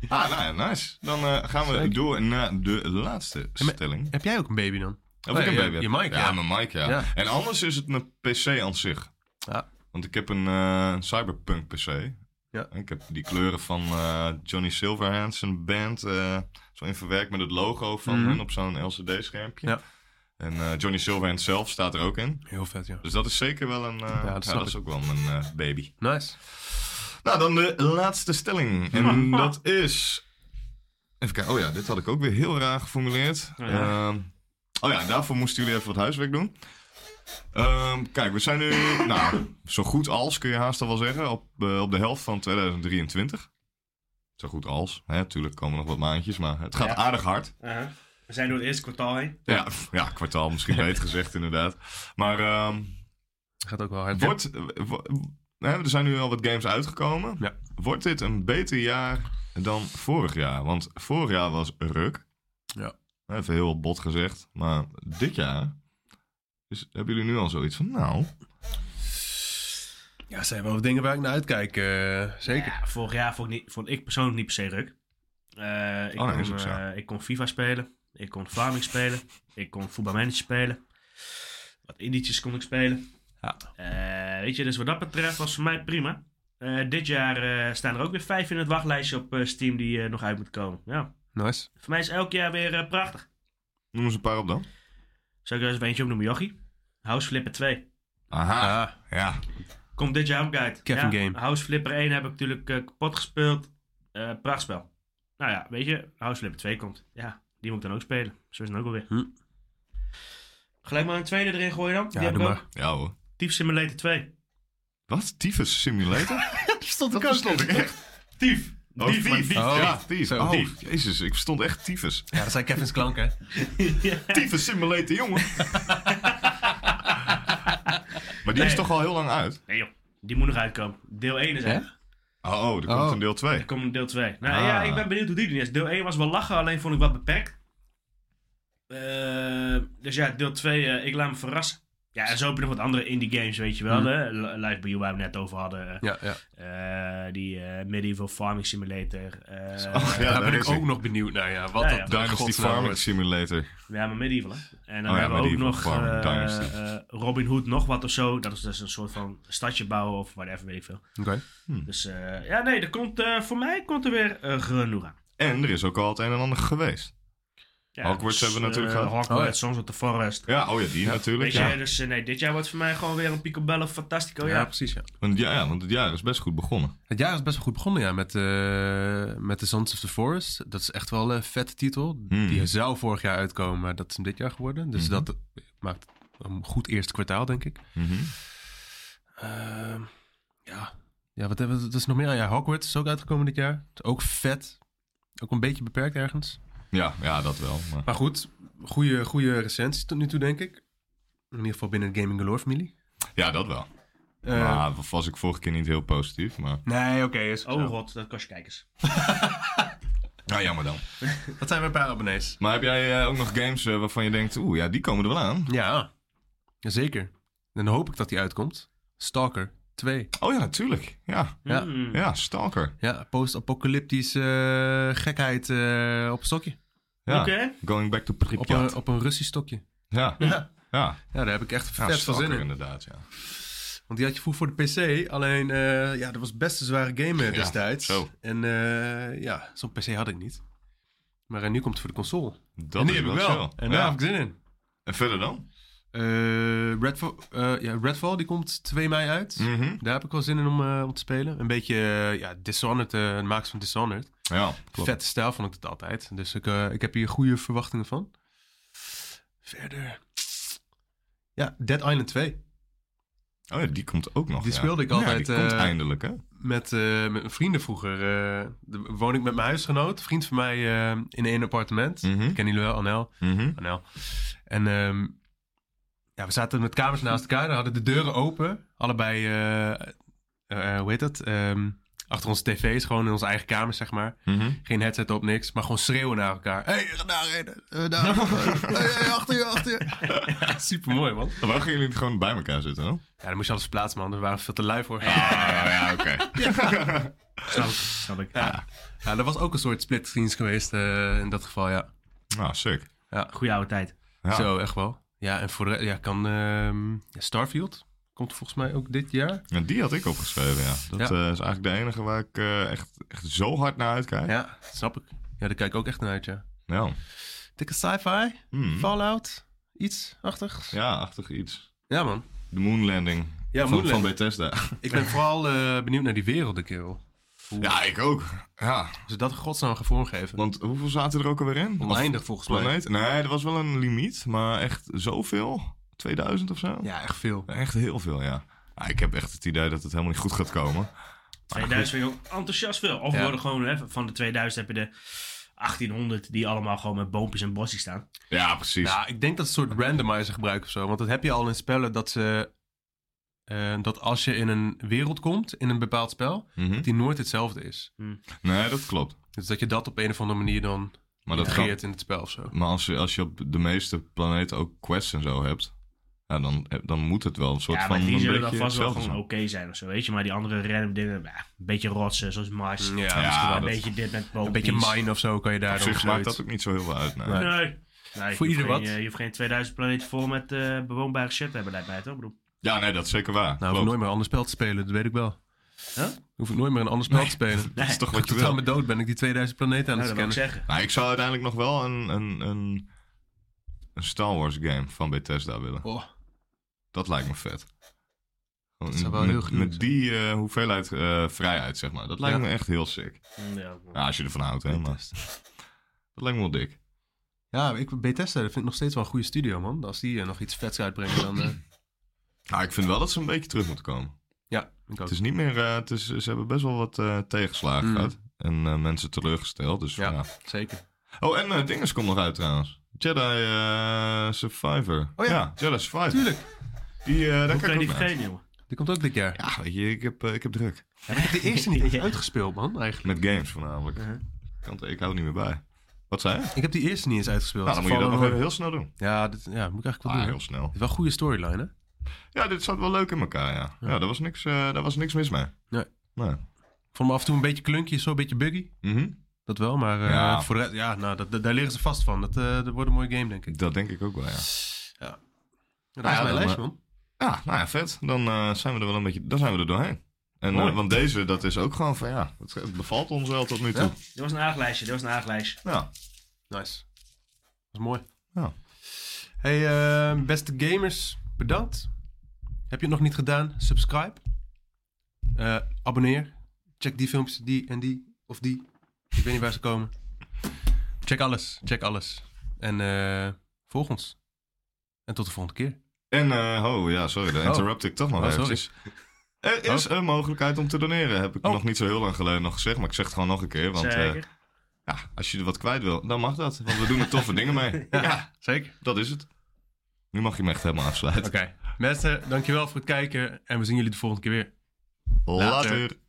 Ah, nou ja, nice. Dan eh, gaan we
Zeker.
door naar de laatste
maar-
stelling.
Heb jij ook een baby dan?
Of
Oh,
ik een
ja,
baby heb.
je mic, ja.
mijn mic, ja.
Ja.
En anders is het mijn PC aan zich.
Ja.
Want ik heb een eh, cyberpunk PC.
Ja.
Ik heb die kleuren van eh, Johnny Silverhands, een band, eh, zo in verwerkt met het logo van
Mhm.
hun op zo'n LCD-schermpje.
Ja.
En eh, Johnny Silverhand zelf staat er ook in.
Heel vet, ja.
Dus dat is zeker wel een... eh, ja, dat,
snap ik.
is ook wel mijn eh, baby.
Nice.
Nou, dan de laatste stelling.
[LAUGHS]
En dat is... Even kijken. Oh ja, dit had ik ook weer heel raar geformuleerd.
Oh ja.
Ehm, oh ja, daarvoor moesten jullie even wat huiswerk doen. Ehm, kijk, we zijn nu... nou, zo goed als, kun je haast al wel zeggen. Op, eh, op de helft van 2023. Zo goed als. Hè, tuurlijk komen nog wat maandjes, maar het gaat
Ja.
aardig hard.
Uh-huh. We zijn door het eerste kwartaal heen.
Ja, [LAUGHS] pff, ja kwartaal misschien beter gezegd, inderdaad. Maar ehm,
Gaat ook wel hard.
wordt, eh, wo- hè, er zijn nu al wat games uitgekomen.
Ja.
Wordt dit een beter jaar dan vorig jaar? Want vorig jaar was ruk.
Ja.
Even heel bot gezegd. Maar dit jaar. Dus hebben jullie nu al zoiets van, nou,
Ja, zijn wel dingen waar ik naar uitkijk. eh, zeker.
Ja, vorig jaar vond ik, niet, vond ik persoonlijk niet per se ruk. Eh, ik,
Oh, nee,
kon,
is ook zo.
eh, ik kon FIFA spelen. Ik kon Vlaming spelen. Ik kon voetbalmanager spelen. Wat indietjes kon ik spelen.
Ja.
Eh, weet je, dus wat dat betreft was voor mij prima. Eh, dit jaar eh, staan er ook weer vijf in het wachtlijstje op eh, Steam die eh, nog uit moet komen. Ja.
Nice.
Voor mij is elk jaar weer eh, prachtig.
noem eens een paar op dan.
Zou ik er eens even eentje opnoemen, Jochie? House Flipper 2.
Aha,
Ah,
ja.
Komt dit jaar ook uit.
Kevin
Ja,
Game.
House Flipper 1 heb ik natuurlijk eh, kapot gespeeld. Eh prachtspel. Nou ja, weet je, House Flipper 2 komt. Ja, die moet ik dan ook spelen. Zo is het dan ook alweer.
Hm.
Gelijk maar een tweede erin gooien dan.
ja,
die heb
doe
ik
maar.
ook.
Ja hoor.
Thief Simulator 2.
Wat? Tyfus Simulator?
Stond
Dat verstond ik echt.
Tief!
Oh,
Dief,
maar-
dief, dief.
Oh,
dief.
ja, dief.
Zo,
Oh,
dief.
jezus, ik verstond echt tyfus.
[LAUGHS] Ja, dat zijn Kevin's klanken. hè.
Tyfus Simulator, jongen. maar die is
Nee.
toch al heel lang uit?
Nee joh, die moet nog uitkomen. Deel 1 is
Hè?
uit.
Oh, oh, er komt
Oh.
een deel 2.
Er komt deel 2. Nou
Ah.
ja, ik ben benieuwd hoe die doen is. Deel 1 was wel lachen, alleen vond ik wat beperkt. Eh, dus ja, deel 2, eh, ik laat me verrassen. Ja, en zo heb je nog wat andere indie games, weet je wel.
Mm.
hè? Li- Live Bio, waar we het net over hadden.
Ja, ja.
Eh, die eh, Medieval Farming Simulator. Eh,
Oh, ja,
daar ben
daar
ik
is hij.
ook nog benieuwd naar. Ja, wat
Ja,
dat
ja.
daar
Dynasty Farming Simulator.
Ja, maar Medieval, hè. En dan
Oh ja,
hebben we ook
Medieval
nog
Farming
eh,
Dynasty.
eh, Robin Hood nog wat of zo. Dat is dus een soort van stadje bouwen of whatever, weet ik veel.
Oké.
Dus eh, ja, nee, er komt, eh, voor mij komt er weer eh genoeg aan.
En er is ook al het een en ander geweest.
Ja,
Hogwarts hebben we natuurlijk
eh,
gehad.
Hogwarts,
Oh ja.
Sons of the Forest.
Ja, oh ja, die natuurlijk.
Weet
Ja.
je, dus eh, nee, dit jaar wordt voor mij gewoon weer een Picobello Fantastico.
Ja,
Oh, Ja,
precies. Ja.
Want, ja, ja, want het jaar is best goed begonnen.
Het jaar is best wel goed begonnen ja, met, eh, met The Sons of the Forest. Dat is echt wel een vette titel. Die zou vorig jaar uitkomen, maar dat is hem dit jaar geworden. Dus
Mhm.
dat maakt een goed eerste kwartaal, denk ik.
Mhm.
Ehm, ja. ja, wat hebben we? Dat is nog meer. Ja, Hogwarts is ook uitgekomen dit jaar. Is ook vet. Ook een beetje beperkt ergens.
ja, ja, dat wel. Maar...
Maar goed, goede, goede recensies tot nu toe, denk ik. In ieder geval binnen de Gaming Galore familie.
Ja, dat wel.
Eh,
maar was ik vorige keer niet heel positief. Maar...
Nee, oké. is goed
Oh
zo.
god, dat kost je kijkers.
Nou, jammer dan.
dat zijn we een paar abonnees.
Maar heb jij eh, ook nog games eh, waarvan je denkt, oeh, ja, die komen er wel aan?
Ja, zeker. En dan hoop ik dat die uitkomt. Stalker 2.
Oh ja, natuurlijk. Ja,
Ja.
Mm.
ja Stalker.
Ja, post-apocalyptische eh, gekheid eh, op een stokje.
Ja.
Oké.
Going back to
Op
Pripyat.
een, op een Russisch stokje.
Ja,
Ja.
ja.
ja, daar heb ik echt
ja
vet van zin
Stalker
in.
inderdaad, ja.
Want die had je vroeger voor de PC. Alleen, eh, ja, dat was best een zware game eh,
Ja,
destijds.
zo.
En eh, ja, zo'n PC had ik niet. Maar eh, nu komt het voor de console.
Dat
en die
is
heb ik
wel.
wel.
chill.
En daar
ja.
heb ik zin in.
en verder dan?
Eh, Redfall, eh, ja, Redfall, die komt 2 mei uit.
Mhm.
Daar heb ik wel zin in om, eh, om te spelen. Een beetje eh, ja, Dishonored, eh de makers van Dishonored.
Ja, klopt.
Vette stijl vond ik dat altijd. Dus ik, eh, ik heb hier goede verwachtingen van. Verder. Ja, Dead Island 2.
Oh ja, die komt ook nog.
Die
ja.
speelde ik altijd,
Ja, die komt
eh,
eindelijk, hè?
Met, eh, met mijn vrienden vroeger. eh de- woon ik met mijn huisgenoot. Vriend van mij eh, in één appartement.
Mhm.
Ik ken jullie wel, Anel.
Mhm.
Anel. En ehm, ja, we zaten met kamers naast elkaar. We hadden de deuren open. Allebei, eh, eh, eh, hoe heet dat? Ehm, achter onze tv's, gewoon in onze eigen kamers, zeg maar.
Mhm.
Geen headset op, niks. Maar gewoon schreeuwen naar elkaar. Hé, hey, ga daarheen. eh,
[LAUGHS]
daar. Hey, hey, achter je, achter je. Super mooi, man.
Maar Waar gaan jullie niet gewoon bij elkaar zitten, hoor?
Ja, dan moest je alles plaatsen, man. We waren veel te lui voor. [LAUGHS]
Ah, ja, oké.
Snap ik, snap ik.
Ja. ja, dat was ook een soort split screens geweest eh, in dat geval, ja.
Nou, sick.
Goeie oude tijd.
Ja.
Zo, echt wel. Ja, en voor de rest, ja, kan ehm, ja, Starfield komt volgens mij ook dit jaar.
En die had ik opgeschreven, ja. Dat
Ja.
eh, is eigenlijk de enige waar ik eh, echt, echt zo hard naar uitkijk. Ja.
Ja, snap ik. Ja, daar kijk ik ook echt naar uit, ja. Dikke sci-fi,
Hmm.
Fallout, Iets achtigs. Ja,
Ja, achtig iets.
man.
De moonlanding.
Ja,
van, van
moonlanding.
Bethesda.
Ik ben vooral eh, benieuwd naar die werelden, kerel. Hoe
Ja, ik ook. Ja,
ze dat in godsnaam gaan vormgeven.
want hoeveel zaten er ook alweer in?
Oneindig volgens mij.
Planeet? Nee, er was wel een limiet, maar echt zoveel? 2000 of zo?
Ja, echt veel.
Echt heel veel, ja. Ah, ik heb echt het idee dat het helemaal niet goed gaat komen.
2000 vind ik ook enthousiast veel. Of
Ja.
worden gewoon, hè, van de 2000 heb je de 1800 die allemaal gewoon met boompjes en bossies staan.
Ja, precies.
Ja, ik denk dat ze een soort randomizer gebruiken of zo. Want dat heb je al in spellen dat ze... eh, dat als je in een wereld komt, in een bepaald spel,
Mhm.
die nooit hetzelfde is.
Nee, dat klopt.
Dus dat je dat op een of andere manier dan
Maar, dat kan,
creëert in het spel of zo.
maar als, je, als je op de meeste planeten ook quests en zo hebt, ja, dan, eh, dan moet het wel een soort
ja,
van...
maar die
een
zullen dan
beetje
vast wel
hetzelfde
gewoon oké zijn of zo, weet je. Maar die andere random dingen, ja, een beetje rotsen, zoals Mars.
Mm, Ja,
ja,
een
dat-
beetje dit met boompjes.
Een beetje mine of zo kan je daar
Op
dan
zich maakt
zoiets.
dat ook niet zo heel veel uit. nee.
Nee.
Nee. Nee,
Voor
je hoeft
ieder
geen,
wat.
eh, je hoeft geen 2000 planeten vol met eh, bewoonbare shit te hebben, lijkt mij toch? Ik bedoel,
Ja, nee, dat is zeker waar.
Nou, hoef
Klopt.
ik nooit meer een ander spel te spelen, dat weet ik wel.
Huh?
Hoef ik nooit meer een ander spel te
[LAUGHS]
spelen.
Dat is toch wat je
Tot aan
wil.
mijn dood ben ik die 2000 planeten aan
nou,
het
dat wil ik
scannen.
zeggen.
Nou, ik zou uiteindelijk nog wel een, een, een, een Star Wars game van Bethesda willen.
Oh,
Dat lijkt me vet. Gewoon
Dat zou wel
met,
heel gruwelijk
Met die eh, hoeveelheid eh, vrijheid, zeg maar. Dat lijkt
Ja.
me echt heel sick.
Ja,
Ja, als je ervan houdt, hè. Maar
Bethesda.
dat lijkt me wel dik.
Ja, ik, Bethesda dat vind ik nog steeds wel een goede studio, man. Als die eh, nog iets vets uitbrengen,
[CLEARS THROAT]
dan... eh,
Nou, ik vind wel dat ze een beetje terug moeten komen.
ja, ik ook.
Het is niet meer... eh, het is, ze hebben best wel wat eh, tegenslagen
Mm.
gehad. En eh, mensen teleurgesteld, dus
Ja.
ja.
Zeker.
Oh, en eh Dinges komt nog uit trouwens. Jedi eh, Survivor.
Oh ja.
Jedi Survivor.
Tuurlijk.
Die, eh, daar
Hoe
kan
kan
ik
je
ook
die
naar uit.
vergeten, jongen?
Die komt ook dit jaar.
Ja, weet je, ik heb, eh, ik heb druk.
Heb ik de eerste niet
[LAUGHS] Ja.
uitgespeeld, man, eigenlijk.
Met games voornamelijk.
Mhm.
Want ik hou er niet meer bij. Wat zei je?
Ik heb die eerste niet eens uitgespeeld.
Nou, dan moet je dat
Fallen
nog
Order.
even heel snel doen.
Ja, dat ja, moet ik eigenlijk wel
Ah,
doen.
heel snel.
Het is wel een goede storyline, hè?
Ja, dit zat wel leuk in elkaar, ja. Ja, daar was niks, eh, daar was niks mis mee.
Nee.
Nee.
Ik vond me af en toe een beetje klunkje, zo een beetje buggy.
Mhm.
Dat wel, maar eh,
Ja.
voor de rest, ja, nou, dat, dat- daar liggen ze vast van. Dat, eh, dat wordt een mooie game, denk ik.
Dat denk ik ook wel, ja.
Dat
Nou
is
ja,
mijn
dan,
lijst,
eh,
man.
Ja, nou ja, vet. Dan eh, zijn we er wel een beetje, dan zijn we er doorheen. En, eh,
Mooi.
want deze, dat is ook gewoon van, ja, het, het bevalt ons wel tot nu toe.
Dit was een aaglijstje, dit was een aaglijstje.
Ja.
Nice. Dat is mooi.
Ja.
Hey, eh, beste gamers, bedankt. Heb je het nog niet gedaan? Subscribe. Eh, abonneer. Check die filmpjes, die en die. Of die. Ik weet niet waar ze komen. Check alles. Check alles. En eh, volg ons. En tot de volgende keer.
En, eh, oh ja, sorry, daar
Oh.
interrupt ik toch nog
Oh, sorry.
eventjes. Er is een mogelijkheid om te doneren, heb ik
Oh.
nog niet zo heel lang geleden nog gezegd. Maar ik zeg het gewoon nog een keer, want eh,
Zeker.
ja, als je er wat kwijt wil, dan mag dat. Want we doen er toffe dingen mee. Ja,
Zeker.
dat is het. Nu mag je me echt helemaal afsluiten.
Oké. Mensen, dankjewel voor het kijken. En we zien jullie de volgende keer weer.
Later.
Later.